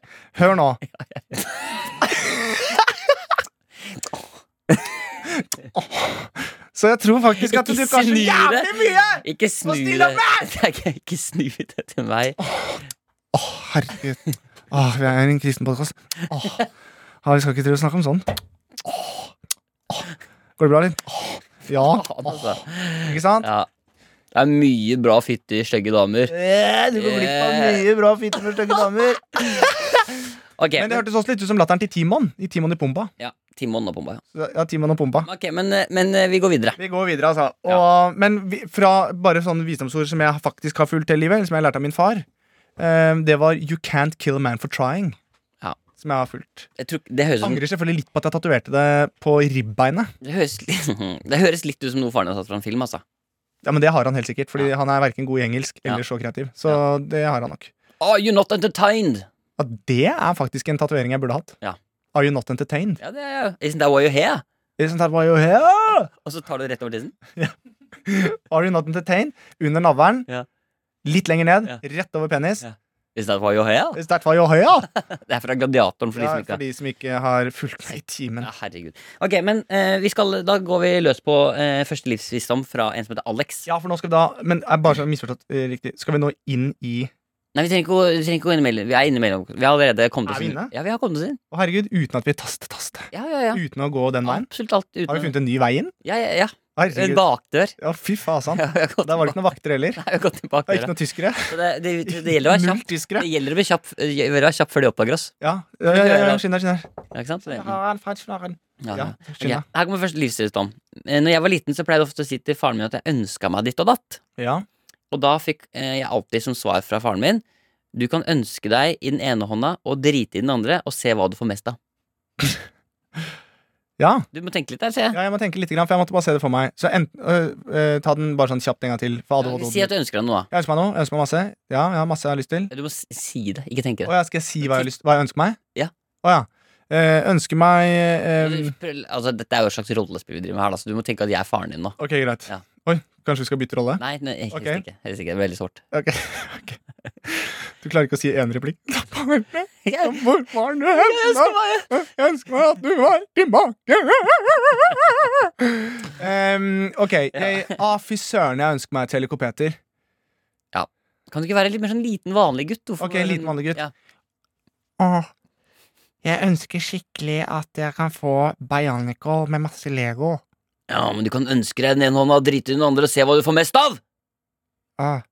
S3: hør nå. Så jeg tror faktisk at du
S2: Ikke
S3: kan så
S2: snu det.
S3: jævlig mye!
S2: Ikke snu
S3: snill
S2: det.
S3: av
S2: Nei, ikke- Ikke snu det til meg.
S3: Å, herregud. Åh, vi er en kristen podkast. Åh. Ja, vi skal ikke til å snakke om sånn. Åh. Åh. Går det bra, Linn? Åh. Ja.
S2: Faen, altså.
S3: Ikke sant?
S2: Ja. Det er mye bra fitte i stygge damer.
S4: Eh, Du går glipp av
S2: Eh.
S4: mye bra fitte med stygge damer.
S2: Ok,
S3: Men det hørtes også litt ut som latteren til Timon i Timon i Pumba.
S2: ja, Timon og Pumba. ja.
S3: Så- Ja, Timon og Pumba.
S2: Ok, men, eh, men eh, vi går videre.
S3: Vi går videre, altså. Og, men vi, fra bare sånne visdomsord som jeg faktisk har fulgt hele livet, eller som jeg lærte av min far, eh, det var 'You can't kill a man for trying'.
S2: Ja. Mm.
S3: Som jeg har fulgt.
S2: Jeg tror, det, høres ut som,
S3: Angrer selvfølgelig litt på at jeg tatoverte det på ribbeinet.
S2: det, høres, litt- det høres litt ut som noe faren din har tatt fra en film. Altså.
S3: Ja, men det har han helt sikkert, fordi han er verken god i engelsk eller
S2: Ja.
S3: så kreativ. Så det har han nok.
S2: Are you not entertained?
S3: Ja, det er faktisk en tatovering jeg burde hatt.
S2: Ja.
S3: Are you not entertained?
S2: Ja, det er jo Isn't that why you're here?
S3: Isn't that why you're here?
S2: Og så tar du rett over tissen.
S3: Are you not entertained? Under navlen.
S2: Ja.
S3: Litt lenger ned.
S2: Ja.
S3: Rett over penis.
S2: Ja. Is that why you're here?
S3: Is that why you're here?
S2: Det er fra Gladiatoren. For de
S3: Ja,
S2: som ikke
S3: for de som ikke har fulgt med i timen.
S2: Ja, herregud. Ok, men eh, vi skal, da går vi løs på eh, første livsvisdom fra en som heter Alex.
S3: Ja, for nå skal vi da Men er bare så misforstått eh, riktig. Skal vi nå inn i Å,
S2: Nei, vi trenger ikke å, vi trenger ikke å innimellom. Vi er innimellom. Vi har allerede kommet
S3: Er
S2: oss
S3: vi
S2: inn.
S3: inne?
S2: Ja, vi har kommet oss inn.
S3: herregud, uten at vi taster, taster.
S2: Ja, ja, ja.
S3: Uten å gå den veien.
S2: Absolutt alt uten
S3: Har vi funnet en ny vei inn?
S2: Ja, ja, ja. En
S3: Herregud.
S2: bakdør.
S3: Ja, fy fasan.
S2: Ja, vi har gått
S3: Der var det
S2: tilbake-
S3: ikke noen vakter heller.
S2: Nei, vi har gått i
S3: Det er ikke
S2: bakdøra.
S3: noen tyskere.
S2: Så Det, det, det, det gjelder å være
S3: Null
S2: kjapp.
S3: tyskere.
S2: Det gjelder å bli kjapp, eh, være kjapp før de oppdager oss.
S3: Ja, ja, ja, ja, ja. skynd deg, skynd deg.
S2: Ja, Ikke sant? Ja, ja.
S3: Ja,
S2: Ok,
S3: skynd deg.
S2: Her kommer første livsvisdom. Eh, Når jeg var liten, så pleide jeg ofte å si til faren min at jeg ønska meg ditt og datt.
S3: Ja.
S2: Og da fikk eh, jeg alltid som svar fra faren min Du kan ønske deg i den ene hånda og drite i den andre og se hva du får mest av.
S3: ja.
S2: Du må tenke litt der, ser jeg.
S3: Ja, jeg må tenke litt, grann, for jeg måtte bare se det for meg. Så enten, øh, øh, ta den bare sånn kjapt en gang til. For ADHD.
S2: si at du ønsker deg noe.
S3: Jeg ønsker meg noe. Jeg ønsker meg masse. Ja, jeg har masse jeg har lyst til.
S2: da. Du må s- si det, ikke tenke
S3: Å
S2: det.
S3: ja, skal jeg si hva jeg, har lyst, hva jeg ønsker meg?
S2: Ja.
S3: Å ja. Eh, ønsker meg eh,
S2: Prøv- Altså, dette er jo et slags rollespill vi driver med her, da, så du må tenke at jeg er faren din nå.
S3: Ok, greit.
S2: Ja.
S3: Oi, kanskje vi skal bytte rolle?
S2: Nei, nei helst
S3: Ok.
S2: ikke. Helst ikke. Det er veldig svårt.
S3: Ok, ok. Du klarer ikke å si én replikk?
S2: Jeg
S3: Hvor var du hen?
S2: ønsker meg-
S3: Jeg ønsker meg at du var tilbake! Em, ok. Jeg, ah, fy søren, jeg ønsker meg Telekopeter.
S2: Kan du ikke være litt mer sånn liten, vanlig gutt? Hvorfor må
S3: Ok,
S2: du være
S3: liten,
S2: sånn-
S3: vanlig gutt.
S2: Ja.
S3: Åh, jeg ønsker skikkelig at jeg kan få Bionicle med masse Lego.
S2: ja, men du kan ønske deg i den ene hånda og drite i den andre og se hva du får mest av!
S3: Åh.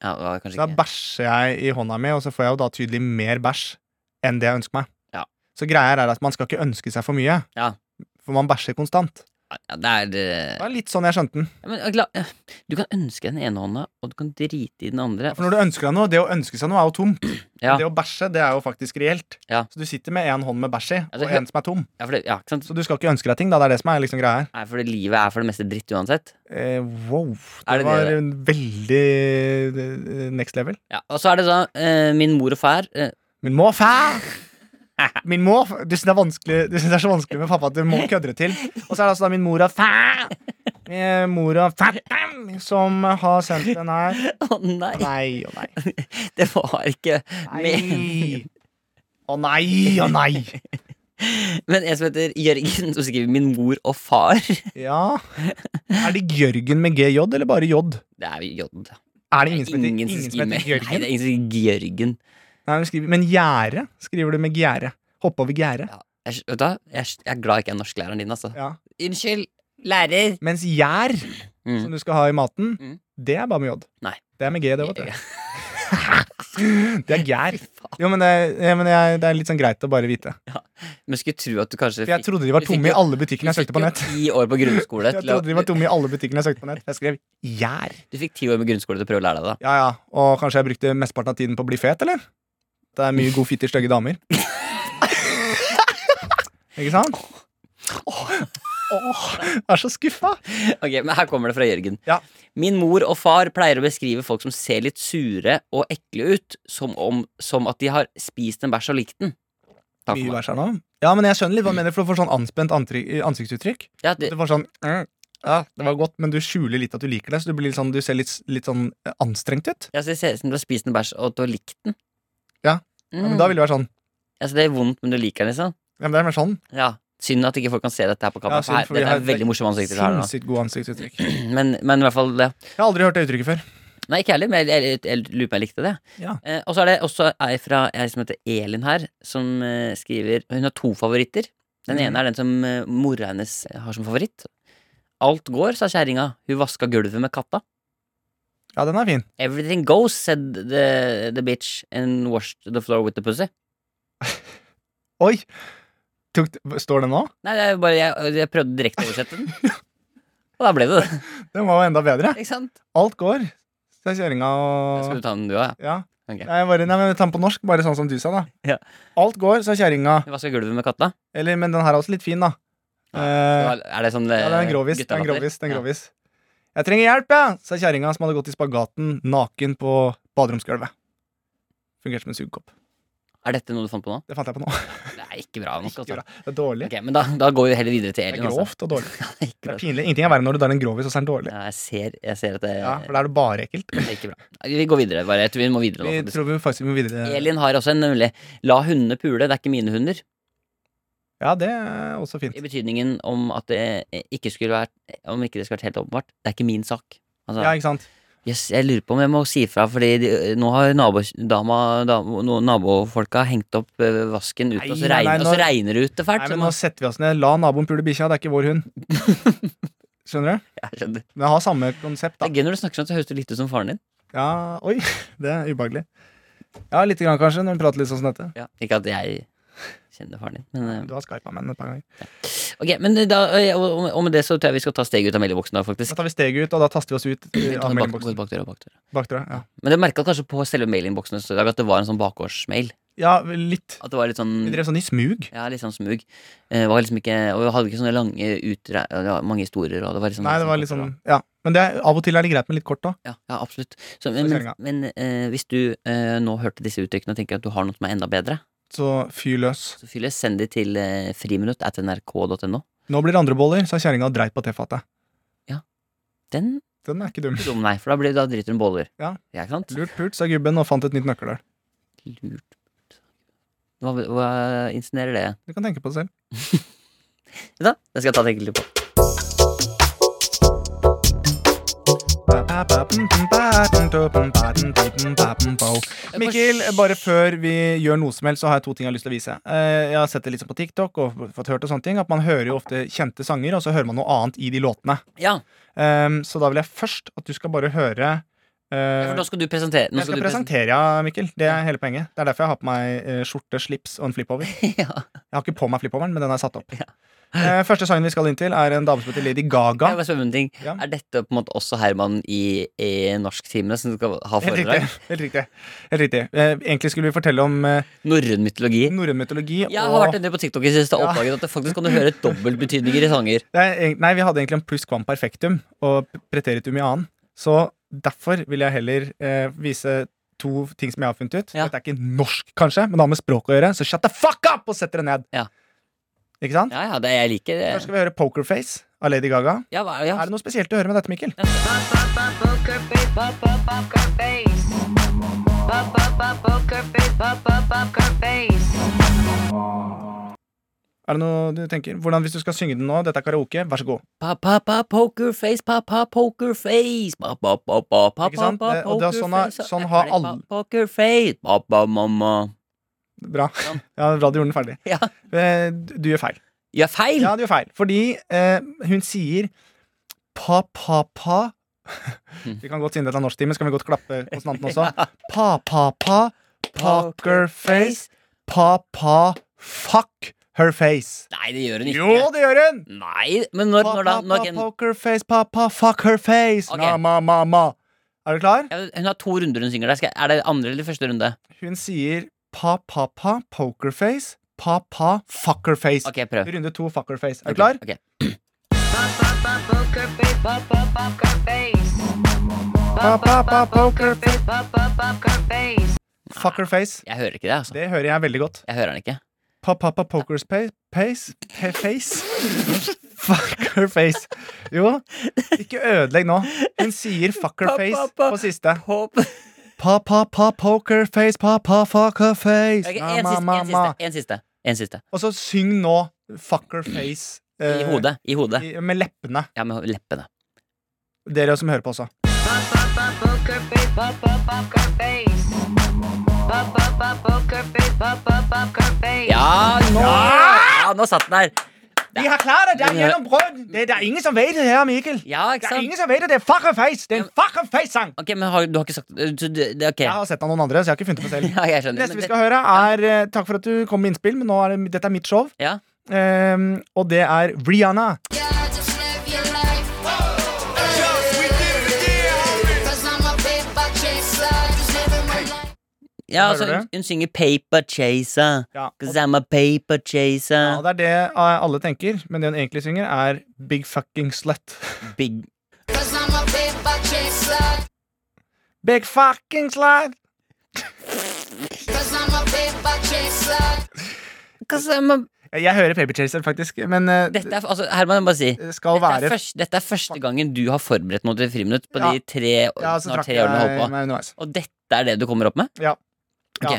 S2: Ja, det var kanskje
S3: Da
S2: ikke
S3: bæsjer jeg i hånda mi, og så får jeg jo da tydelig mer bæsj enn det jeg ønsker meg.
S2: Ja.
S3: Så greia er at man skal ikke ønske seg for mye,
S2: Ja.
S3: for man bæsjer konstant.
S2: ja, Det er eh,
S3: Det var litt sånn jeg skjønte den.
S2: Ja, Men, eh, kla- eh, du kan ønske den ene hånda, og du kan drite i den andre.
S3: For når du ønsker deg noe, det å ønske seg noe er jo tomt.
S2: Ja.
S3: Det å bæsje, det er jo faktisk reelt.
S2: Ja.
S3: Så du sitter med en hånd med bæsj i,
S2: Ja,
S3: og
S2: det-
S3: en som er tom.
S2: Ja, for det, ja, ikke sant?
S3: Så du skal ikke ønske deg ting, da. Det er det som er liksom greia her.
S2: Nei, for det livet er for det meste dritt uansett.
S3: Eh, wow. Det,
S2: Er det det
S3: var
S2: det er?
S3: en veldig eh, next level.
S2: Ja, og så er det da eh, min mor og far. Eh,
S3: Min må fæ! Min må, Du syns det, er vanskelig- du synes det er så vanskelig med pappa at du må kødde det til. Og så er det altså da min mor og fæ! Eh, Mor og fætter'n som har sendt den her.
S2: Å nei,
S3: Nei og nei.
S2: det var ikke
S3: Nei.
S2: men,
S3: Å nei og nei.
S2: men en som heter Jørgen, som skriver 'min mor og far'.
S3: Ja. Er det Jørgen med GJ eller bare J?
S2: Det er jo J.
S3: Er det ingen som heter,
S2: Ingen som
S3: ingen som
S2: skriver-
S3: heter
S2: Nei, det
S3: Jørgen?
S2: er ingen som skriver Jørgen.
S3: Nei, men skriver- Men gjerde skriver du med gjerde. Hoppe over gjerdet.
S2: Jeg, vet du, hva? jeg, jeg er glad jeg ikke er norsklæreren din, altså.
S3: Ja.
S2: Unnskyld, lærer.
S3: Mens gjær,
S2: Mm.
S3: som du skal ha i maten,
S2: Mm.
S3: det er bare med J.
S2: Nei.
S3: Det er med G, det, vet du. Det er gær. Jo, men det, er, ja, men det er, det er litt sånn greit å bare vite.
S2: Men skulle tro at du kanskje
S3: For jeg trodde de var
S2: Vi fikk
S3: tomme i
S2: jo-
S3: alle butikkene jeg søkte på nett.
S2: Du fikk jo ti år på grunnskole
S3: Jeg
S2: til å,
S3: trodde de var tomme i alle butikkene jeg søkte på nett. Jeg skrev gjær.
S2: Du fikk ti år med grunnskole til å prøve å lære deg det.
S3: Ja, ja. Og kanskje jeg brukte mesteparten av tiden på å bli fet, eller? Det er mye god fitte i stygge damer. Ikke sant? Åh, jeg er så skuffa!
S2: Ok, men Her kommer det fra Jørgen.
S3: Ja.
S2: Min mor og far pleier å beskrive folk som ser litt sure og ekle ut, som, om, som at de har spist en bæsj og likt den. Takk
S3: Mye
S2: for meg.
S3: verre nå. Ja, men jeg skjønner litt hva du mener, for du får sånn anspent antri- ansiktsuttrykk.
S2: Ja, det,
S3: Det var sånn mm, ja, det var godt, men du skjuler litt at du liker det, så du, blir litt sånn, du ser litt, litt sånn eh, anstrengt ut.
S2: ja, så det ser ut som du har spist en bæsj og at du har likt den.
S3: Ja.
S2: Mm.
S3: Ja, men da vil det være sånn.
S2: altså, det er vondt, men du liker den, liksom?
S3: Ja, men det er mer sånn
S2: Ja. Synd at ikke folk kan se dette her på kamera.
S3: Ja,
S2: for
S3: synd,
S2: her,
S3: for vi
S2: dette
S3: har
S2: er veldig morsomme ansikter. Her, nå.
S3: sinnssykt god ansiktsuttrykk.
S2: men, men i hvert fall det.
S3: Jeg har aldri hørt det uttrykket før.
S2: Nei, ikke heller, men jeg, jeg, jeg lurer på om jeg likte det.
S3: Ja.
S2: Eh, og så er det også ei fra ei som heter Elin her, som eh, skriver Hun har to favoritter. Den
S3: Mhm.
S2: ene er den som eh, mora hennes har som favoritt. Alt går, sa kjerringa. Hun vaska gulvet med katta.
S3: Ja, den er fin.
S2: Everything goes, said the, the bitch, and washed the floor with the pussy.
S3: Oi! Tok, står den nå?
S2: Nei, det er jo bare, jeg, jeg prøvde direkte å oversette den. Og da ble det det.
S3: Den var jo enda bedre.
S2: Ikke sant?
S3: Alt går. Så er kjerringa
S2: Skal
S3: og
S2: du ta den du òg?
S3: ja.
S2: Ok.
S3: Nei, bare, nei, men ta den på norsk, bare sånn som du sa, da.
S2: Ja.
S3: Alt går, sa kjerringa.
S2: Hun vaska gulvet med katta.
S3: Eller, men den her er også litt fin, da.
S2: Ja,
S3: Eh,
S2: Er det sånn
S3: ja, det er en grovis. Det er en grovis, det er en grovis. Jeg trenger hjelp, jeg, sa kjerringa som hadde gått i spagaten naken på baderomsgulvet. Fungerte som en sugekopp.
S2: Er dette noe du fant på nå?
S3: Det fant jeg på nå.
S2: Det er ikke bra nok.
S3: Ikke
S2: Altså.
S3: bra. Det er dårlig.
S2: Ok, men da, da går vi heller videre til
S3: Det er
S2: Elin. altså.
S3: grovt og dårlig.
S2: Det er ikke
S3: Det
S2: bra.
S3: er pinlig. Ingenting er verre enn når du tar en grovis, og så er den dårlig.
S2: Ja, jeg, ser, jeg ser at det,
S3: Ja, For da er det bare ekkelt.
S2: det er ikke bra. Vi går videre. bare, jeg tror Vi må videre nå.
S3: Vi
S2: faktisk.
S3: tror vi faktisk må videre.
S2: Elin har også en nemlig. La hundene pule, det er ikke mine hunder.
S3: Ja, det er også fint.
S2: I betydningen om at det eh, ikke skulle vært Om ikke det skulle vært helt åpenbart. Det er ikke min sak. Altså,
S3: Ja, ikke sant?
S2: yes, jeg lurer på om jeg må si ifra, Fordi de, eh, nå har nabodama, dam- no, nabofolka hengt opp eh, vasken ut,
S3: Nei,
S2: og, så
S3: nei,
S2: regner,
S3: nei,
S2: og så
S3: nå-
S2: regner det ut det fælt.
S3: Nei,
S2: så
S3: men
S2: man-
S3: nå setter vi oss ned. La naboen pule bikkja, det er ikke vår hund. Skjønner du?
S2: Jeg skjønner.
S3: Men jeg har samme konsept,
S2: Det
S3: da.
S2: er gøy når du snakker sånn, så høres du litt ut som faren din.
S3: Ja, oi, det er ubehagelig. Ja, lite grann kanskje, når hun prater litt sånn som dette.
S2: Ikke at jeg kjenner faren din, men eh,
S3: Du har skypa med henne et par ganger.
S2: Ok, men da, og, og med det så tror jeg vi skal ta steget ut av meldeboksen da, faktisk.
S3: Da tar vi steget ut, og da taster vi oss ut
S2: Vi
S3: eh,
S2: tar
S3: av
S2: bak-
S3: meldingboksen.
S2: går bakdøra, bakdøra.
S3: Bakdøra. Ja.
S2: Men jeg merka kanskje på selve mailinnboksen i dag at det var en sånn bakgårdsmail.
S3: ja, litt.
S2: At det var litt
S3: Vi
S2: sånn
S3: drev sånn i smug.
S2: ja, litt sånn smug. Eh, var liksom ikke, og vi hadde ikke sånne lange utre... ja, Det var mange historier, og det var liksom
S3: Nei, det var litt sånn Ja. Men det er, av og til er det greit med litt kort, da.
S2: Ja, ja absolutt. Så, men men,
S3: kjøringa.
S2: men eh, hvis du eh, nå hørte disse uttrykkene og tenker at du har noe som er enda bedre,
S3: Så fyr løs.
S2: så fyll det, send det til eh, friminutt at nrk.no.
S3: Nå blir det andre boller, sa kjerringa og dreit på tefatet.
S2: Den er
S3: Den er ikke dum.
S2: ikke dum, nei, for da, blir, da driter hun boller.
S3: Ja.
S2: ikke sant?
S3: Lurt pult, sa gubben og fant et nytt nøkkelhull.
S2: Lurt. Hva, hva insinuerer det?
S3: Du kan tenke på det selv.
S2: Vet du hva? Det skal jeg ta et enkelt litt på.
S3: Mikkel, bare før vi gjør noe som helst, så har jeg to ting jeg har lyst til å vise. Eh, Jeg har sett det litt sånn på TikTok og fått hørt og sånne ting, at man hører jo ofte kjente sanger, og så hører man noe annet i de låtene.
S2: Ja,
S3: Ehm, Så da vil jeg først at du skal bare høre eh,
S2: for nå skal du presentere. Nå
S3: Jeg skal
S2: du
S3: presentere, ja, Mikkel. Det er hele poenget. Det er derfor jeg har på meg eh, skjorte, slips og en flippover.
S2: ja.
S3: Jeg har ikke på meg flippoveren, men den er satt opp.
S2: Ja.
S3: Eh, Første sangen vi skal inn til, er en dame som heter Lady
S2: Jeg
S3: Gaga.
S2: vil bare spørre om en ting.
S3: Ja.
S2: Er dette på en måte også Herman i, i norsktimene som skal ha
S3: Helt riktig.
S2: foredrag?
S3: helt riktig, helt riktig. Eh, Egentlig skulle vi fortelle om eh,
S2: Norrøn mytologi.
S3: norrøn mytologi.
S2: Jeg har
S3: og-
S2: vært en del på TikTok i det siste og
S3: Ja.
S2: oppdaget at det faktisk kan du høre dobbeltbetydninger i sanger.
S3: Det er egent- Nei, vi hadde egentlig en pluss quam perfectum og p- preteritum i annen. Så derfor vil jeg heller eh, vise to ting som jeg har funnet ut.
S2: Ja.
S3: Dette er ikke norsk, kanskje, men det har med språk å gjøre, så shut the fuck up! Og sett dere ned.
S2: Ja.
S3: Ikke sant?
S2: Ja, ja, det jeg liker det.
S3: Først skal vi høre Pokerface av Lady Gaga.
S2: Ja, hva- ja.
S3: Er det noe spesielt å høre med dette, Mikkel?
S5: Poker face, pop pop poker face. Pop pop pop poker face, pop pop poker face.
S3: Er det noe du tenker? Hvordan Hvis du skal synge den nå, dette er karaoke, vær så god.
S2: Pa-pa-pa, pokerface, pa-pa, pokerface. Pa-pa-pa, pa-pa,
S3: Ikke sant? Det- og det er sånn er-
S2: pokerface.
S3: sånn har
S2: Er det pa-
S3: alle-
S2: Pokerface, pa-pa, mamma.
S3: Bra. Ja, bra du gjorde den ferdig.
S2: Ja.
S3: Eh, du- Du gjør feil.
S2: Gjør feil!
S3: Ja, det gjør feil. Fordi eh, hun sier pa-pa-pa
S2: Mm.
S3: Vi kan godt siden dette er norsktimen, så kan vi godt klappe konsonanten også. Pa-pa-pa, pokerface, pa-pa-fuck her face.
S2: Nei, det gjør hun ikke.
S3: Jo, det gjør hun!
S2: Nei, men når, når da når,
S3: Pa-pa-pa, pokerface, pa-pa-fuck her face.
S2: Ok.
S3: Na-ma-ma-ma. Er du klar?
S2: Ja, Hun har to runder hun synger der. Skal, er det andre eller første runde?
S3: Hun sier pa-pa-pa, pokerface, pa-pa-fuck her face.
S2: Ok, prøv.
S3: Runde to, fuck her face. Er du klar?
S2: Ok.
S5: Poker face, pop pop poker face.
S3: Pa-pa-pa, pokerface,
S5: Face, pop pop poker face.
S3: fuck her face.
S2: Jeg hører ikke det, altså.
S3: Det hører jeg veldig godt.
S2: Jeg hører den ikke.
S3: Pa-pa-pa poker's pa- pace pa- Face Fuck her face Jo, ikke ødelegg nå Hun sier fuck her face
S2: Pa-pa-pa.
S3: på siste
S2: Hopp.
S3: Pa-pa-pa poker face Pa-pa fuck her face
S2: Ok,
S3: Ma,
S2: en,
S3: ma,
S2: siste,
S3: ma,
S2: en,
S3: ma.
S2: siste, en siste. En siste.
S3: Og så syng nå fuck her face
S2: I
S3: eh,
S2: hodet. I hodet.
S3: i- Med leppene
S2: Ja, med leppene.
S3: Dere som hører på også
S5: Pop pop pop poker face, pop pop poker face. Pop pop pop poker face, pop pop poker face.
S2: Ja, nå, ja, nå satt den der.
S3: Vi har klart det, det
S2: er
S3: gjennombrød Det er ingen som vet det her, Mikkel
S2: Ja, ikke sant?
S3: som vet det, det er fuck her face Det er en fuck her face-sang
S2: Ok, men har, du har ikke sagt eh, så du- det, Ok.
S3: Jeg har sett av noen andre, så jeg har ikke funnet på selv
S2: Ja, jeg skjønner.
S3: Neste
S2: Men
S3: vi
S2: det-
S3: skal høre er eh, Takk for at du kom med innspill, men nå er det, dette er mitt show.
S2: Ja.
S3: Ehm, og det er Rihanna.
S6: Yeah, just live your life. Cause I'm a paper chaser, just living my life.
S2: Ja, altså,
S3: Hører du
S2: hun, hun synger 'Paper Chaser'.
S3: Ja, og,
S2: 'Cause I'm a paper
S3: ja,
S2: chaser'.
S3: det er det eh, alle tenker, men det hun egentlig synger, er Big Fucking Slut.
S2: Big
S6: Cause I'm a paper chaser.
S3: Big fucking slut!
S6: Cause I'm a paper chaser.
S2: Cause I'm a
S3: Jeg hører Paper Chaser, faktisk, men eh,
S2: Dette er, altså, Herman, jeg må bare si
S3: det skal
S2: dette er,
S3: være
S2: først, dette er første gangen du har forberedt noe til friminutt på
S3: Ja.
S2: de tre,
S3: Ja, så
S2: snart
S3: trakk
S2: tre årene du har
S3: jeg
S2: holdt på.
S3: meg underveis.
S2: Og dette er det du kommer opp med?
S3: Ja.
S2: Ok.
S3: Ja.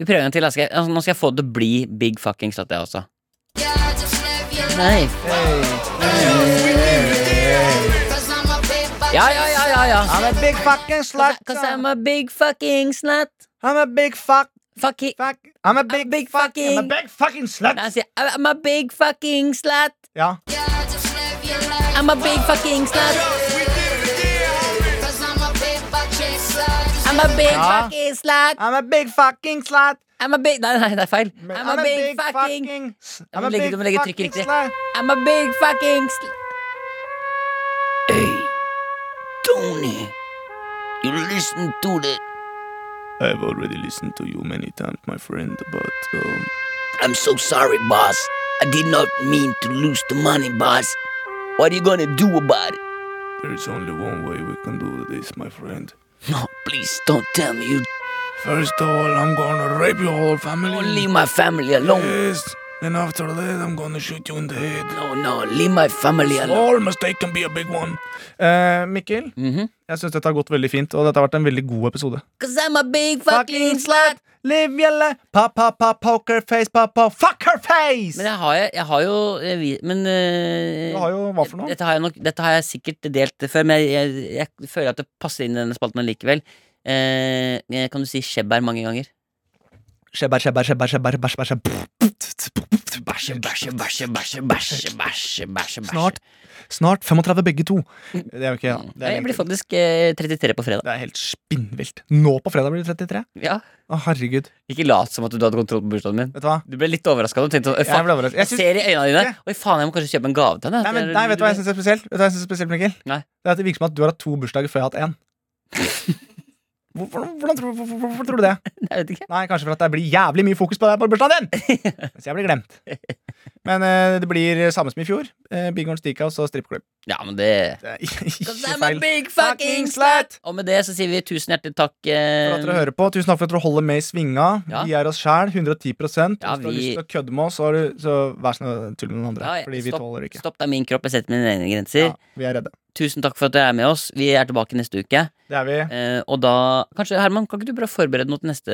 S2: Vi prøver en gang til. da. Skal jeg, altså, nå skal jeg få det til å bli big fucking slut, jeg også.
S6: Yeah, just live your life.
S2: Nei.
S6: Cause I'm a paper
S2: Ja, ja, ja, ja. ja.
S3: I'm a big fucking slut.
S2: Cause I'm a big fucking slut.
S3: I'm a big fuck,
S2: Fucking
S3: fuck I'm a big,
S2: big
S3: fucking I'm a
S2: fucking-
S3: big fucking slut!
S2: Nei, han sier I'm a big fucking slut.
S3: Ja.
S6: Yeah, just live your life.
S2: I'm a big fucking slut.
S6: Cause I'm a paper chaser.
S2: I'm a big
S3: Ja.
S2: fucking slut.
S3: I'm a big fucking slut!
S2: I'm a big Nei, nei, det er feil.
S3: Men-
S2: I'm a big fucking
S3: s-
S2: Du må legge- du må legge trykket riktig.
S3: slut.
S2: I'm a big fucking sl... Hey, Tony. You listen to the...
S3: I've already listened to you many times, my friend, but um,
S2: I'm so sorry, boss. I did not mean to lose the money, boss. What are you gonna do about it?
S3: there is only one way we can do this, my friend.
S2: No, please don't tell me you
S3: First of all, I'm gonna rape your whole
S2: don't
S3: family.
S2: leave my family alone.
S3: Yes. Then after that, I'm gonna shoot you in the head.
S2: Oh No, no, leave my family alone.
S3: All mistake can be a big one. Eh, Mikkel, jeg syns dette har gått veldig fint, og dette har vært en veldig god episode.
S2: Cause I'm a big fucking slut.
S3: Liv Gjelle, pa-pa-pa, pokerface, pa-pa, fuck her face!
S2: Men jeg har, jo- jeg har jo eh, vi- Men eh,
S3: Du har jo hva for noe?
S2: Dette har jeg, nok, dette har jeg sikkert delt før, men jeg, jeg, jeg føler at det passer inn i denne spalten likevel. Eh, eh, kan du si skjebber mange ganger?
S3: Skjebber, skjebber, skjebber, skjebber, bæsj, bæsj, bæsj.
S2: Bæsje, bæsje, bæsje, bæsje, bæsje, bæsje, bæsje
S3: Snart, snart 35 begge to. Det er jo ikke det er,
S2: Jeg blir
S3: egentlig,
S2: faktisk eh, 33 på fredag.
S3: det er helt spinnvilt. Nå på fredag blir du 33.
S2: Ja.
S3: Å, herregud.
S2: Ikke lat som at du hadde kontroll på bursdagen min.
S3: Vet du hva?
S2: Du ble litt overraska. Du tenkte sånn, «Øy,
S3: Jeg
S2: faen,
S3: ble overrasket.
S2: jeg
S3: Jeg syns-
S2: ser i øynene dine Oi, faen, jeg må kanskje kjøpe en gave til henne.
S3: Nei, men, nei, vet du hva jeg syns er spesielt? Vet du hva jeg synes er spesielt, Mikkel?
S2: Nei.
S3: Det er at det virker som at du har hatt to bursdager før jeg har hatt én. Hvorfor, hvordan tror, hvorfor, hvorfor tror du det?
S2: Nei, jeg vet ikke.
S3: Nei, Kanskje for at det blir jævlig mye fokus på deg på bursdagen din! Mens jeg blir glemt. Men eh, det blir samme som i fjor. Eh, Big Horn Steakhouse og strippeklubb.
S2: Ja, men det
S3: Det er ikke
S2: Cause I'm a
S3: feil.
S2: big fucking slut! Og med det så sier vi tusen hjertelig takk. eh,
S3: for at dere hører på. Tusen takk for at dere holder med i svinga.
S2: Ja.
S3: Vi er oss sjæl, 110 Hvis du
S2: Ja,
S3: har
S2: vi-
S3: lyst til å kødde med oss, så, har du, så vær så snill å tulle med noen andre.
S2: Ja, ja,
S3: Fordi vi tåler det ikke.
S2: Stopp, det er min kropp. Jeg setter mine egne
S3: Ja,
S2: grenser.
S3: vi er redde.
S2: Tusen takk for at dere er med oss. Vi er tilbake neste uke.
S3: Det er vi.
S2: Eh, og da Kanskje, Herman, kan ikke du bare forberede noe til neste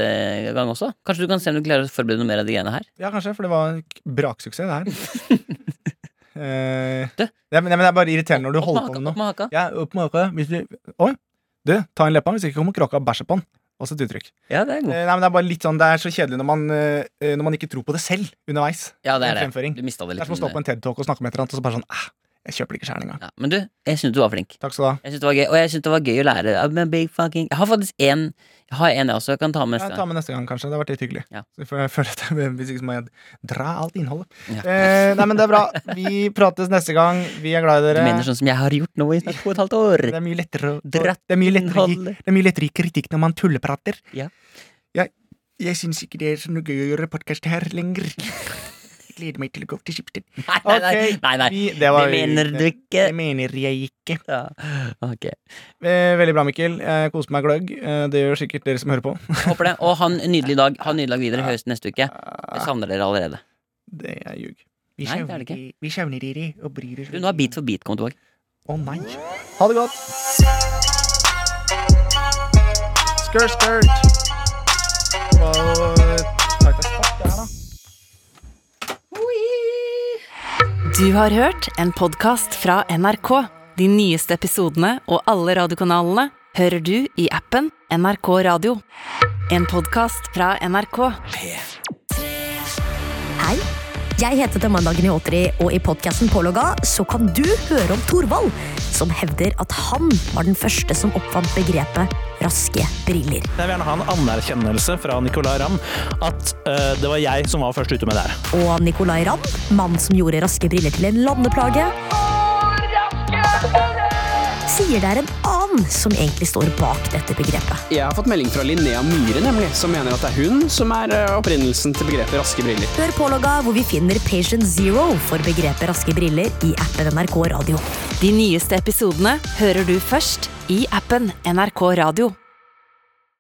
S2: gang også? Kanskje du kan se om du klarer å forberede noe mer av de greiene her?
S3: Ja, kanskje, for det var en k- braksuksess, det her. Eh,
S2: Du.
S3: ja, men, ja, men det er bare irriterende når du
S2: Opp med
S3: holder på
S2: haka,
S3: med
S2: opp
S3: noe.
S2: med haka.
S3: Ja, opp med øret, hvis du... Oi! Du, ta en leppa, hvis ikke kommer kråka og bæsjer på den. Også et uttrykk.
S2: Ja, det er
S3: Eh,
S2: god.
S3: nei, men Det er bare litt sånn, det er så kjedelig når man, eh, eh, når man ikke tror på det selv underveis.
S2: Ja, det
S3: en
S2: er det.
S3: fremføring.
S2: Du mista det litt.
S3: Det er som å stå på
S2: men-
S3: en TED-talk og snakke med et eller annet, og så bare sånn eh, Jeg kjøper det ikke sjæl engang.
S2: Ja, men du, jeg syns du var flink.
S3: Takk skal du ha.
S2: Jeg synes det var gøy, Og jeg syns det var gøy å lære. I'm a big fucking Jeg har faktisk én Jeg har en jeg også jeg kan ta med
S3: Jeg
S2: neste
S3: tar
S2: gang.
S3: med neste gang, kanskje. Det har vært litt hyggelig.
S2: Ja.
S3: Så får jeg føler at jeg, Hvis ikke så må jeg dra alt innholdet.
S2: Ja.
S3: Eh, nei, men det er bra. Vi prates neste gang. Vi er glad i
S2: Du
S3: dere.
S2: mener sånn som jeg har gjort nå i snart to og et halvt år.
S3: Det er mye lettere å Det
S2: Dratt
S3: er mye lettere, å gi-
S2: innholdet.
S3: det er mye lettere i kritikk når man tulleprater.
S2: Ja.
S3: Jeg, jeg syns ikke det er så noe gøy å gjøre podkast her lenger. Jeg gleder meg til å gå til Skipsted.
S2: Nei, nei, nei.
S3: Ok,
S2: nei, nei.
S3: vi- det
S2: Det
S3: var-
S2: mener du ikke.
S3: Det mener jeg ikke.
S2: Ja. Ok.
S3: Eh, veldig bra, Mikkel. Jeg koser meg gløgg. Eh, det gjør sikkert dere som hører på.
S2: Håper det. Og ha en nydelig dag. Ha en nydelig dag videre. Høres neste uke. Jeg savner dere allerede.
S3: Det er ljug.
S2: Nei,
S3: Vi
S2: det er
S3: savner
S2: det ikke.
S3: de- vi savner dere og bryr oss
S2: Du, nå er Beat for beat kommet tilbake.
S3: Å nei. Ha det godt. Skurt, skurt. Det var jo eh, takk, takk, takk, det her, da.
S1: Du har hørt en podkast fra NRK. De nyeste episodene og alle radiokanalene hører du i appen NRK Radio. En podkast fra NRK.
S7: Hei, jeg heter Tamandagen i Åtri, og i podcasten Pålogga så kan du høre om Thorvald, som hevder at han var den første som oppfant begrepet raske briller.
S8: Jeg vil gjerne ha en anerkjennelse fra Nicolay Ramm at eh, det var jeg som var først ute med det her.
S7: Og Nicolay Ramm, mannen som gjorde raske briller til en landeplage, sier det er en annen som egentlig står bak dette begrepet.
S9: Jeg har fått melding fra Linnea Myhre, nemlig, som mener at det er hun som er eh, opprinnelsen til begrepet raske briller.
S7: Hør Pålogga, hvor vi finner Patient Zero for begrepet raske briller i appen NRK Radio.
S1: De nyeste episodene hører du først i appen NRK Radio.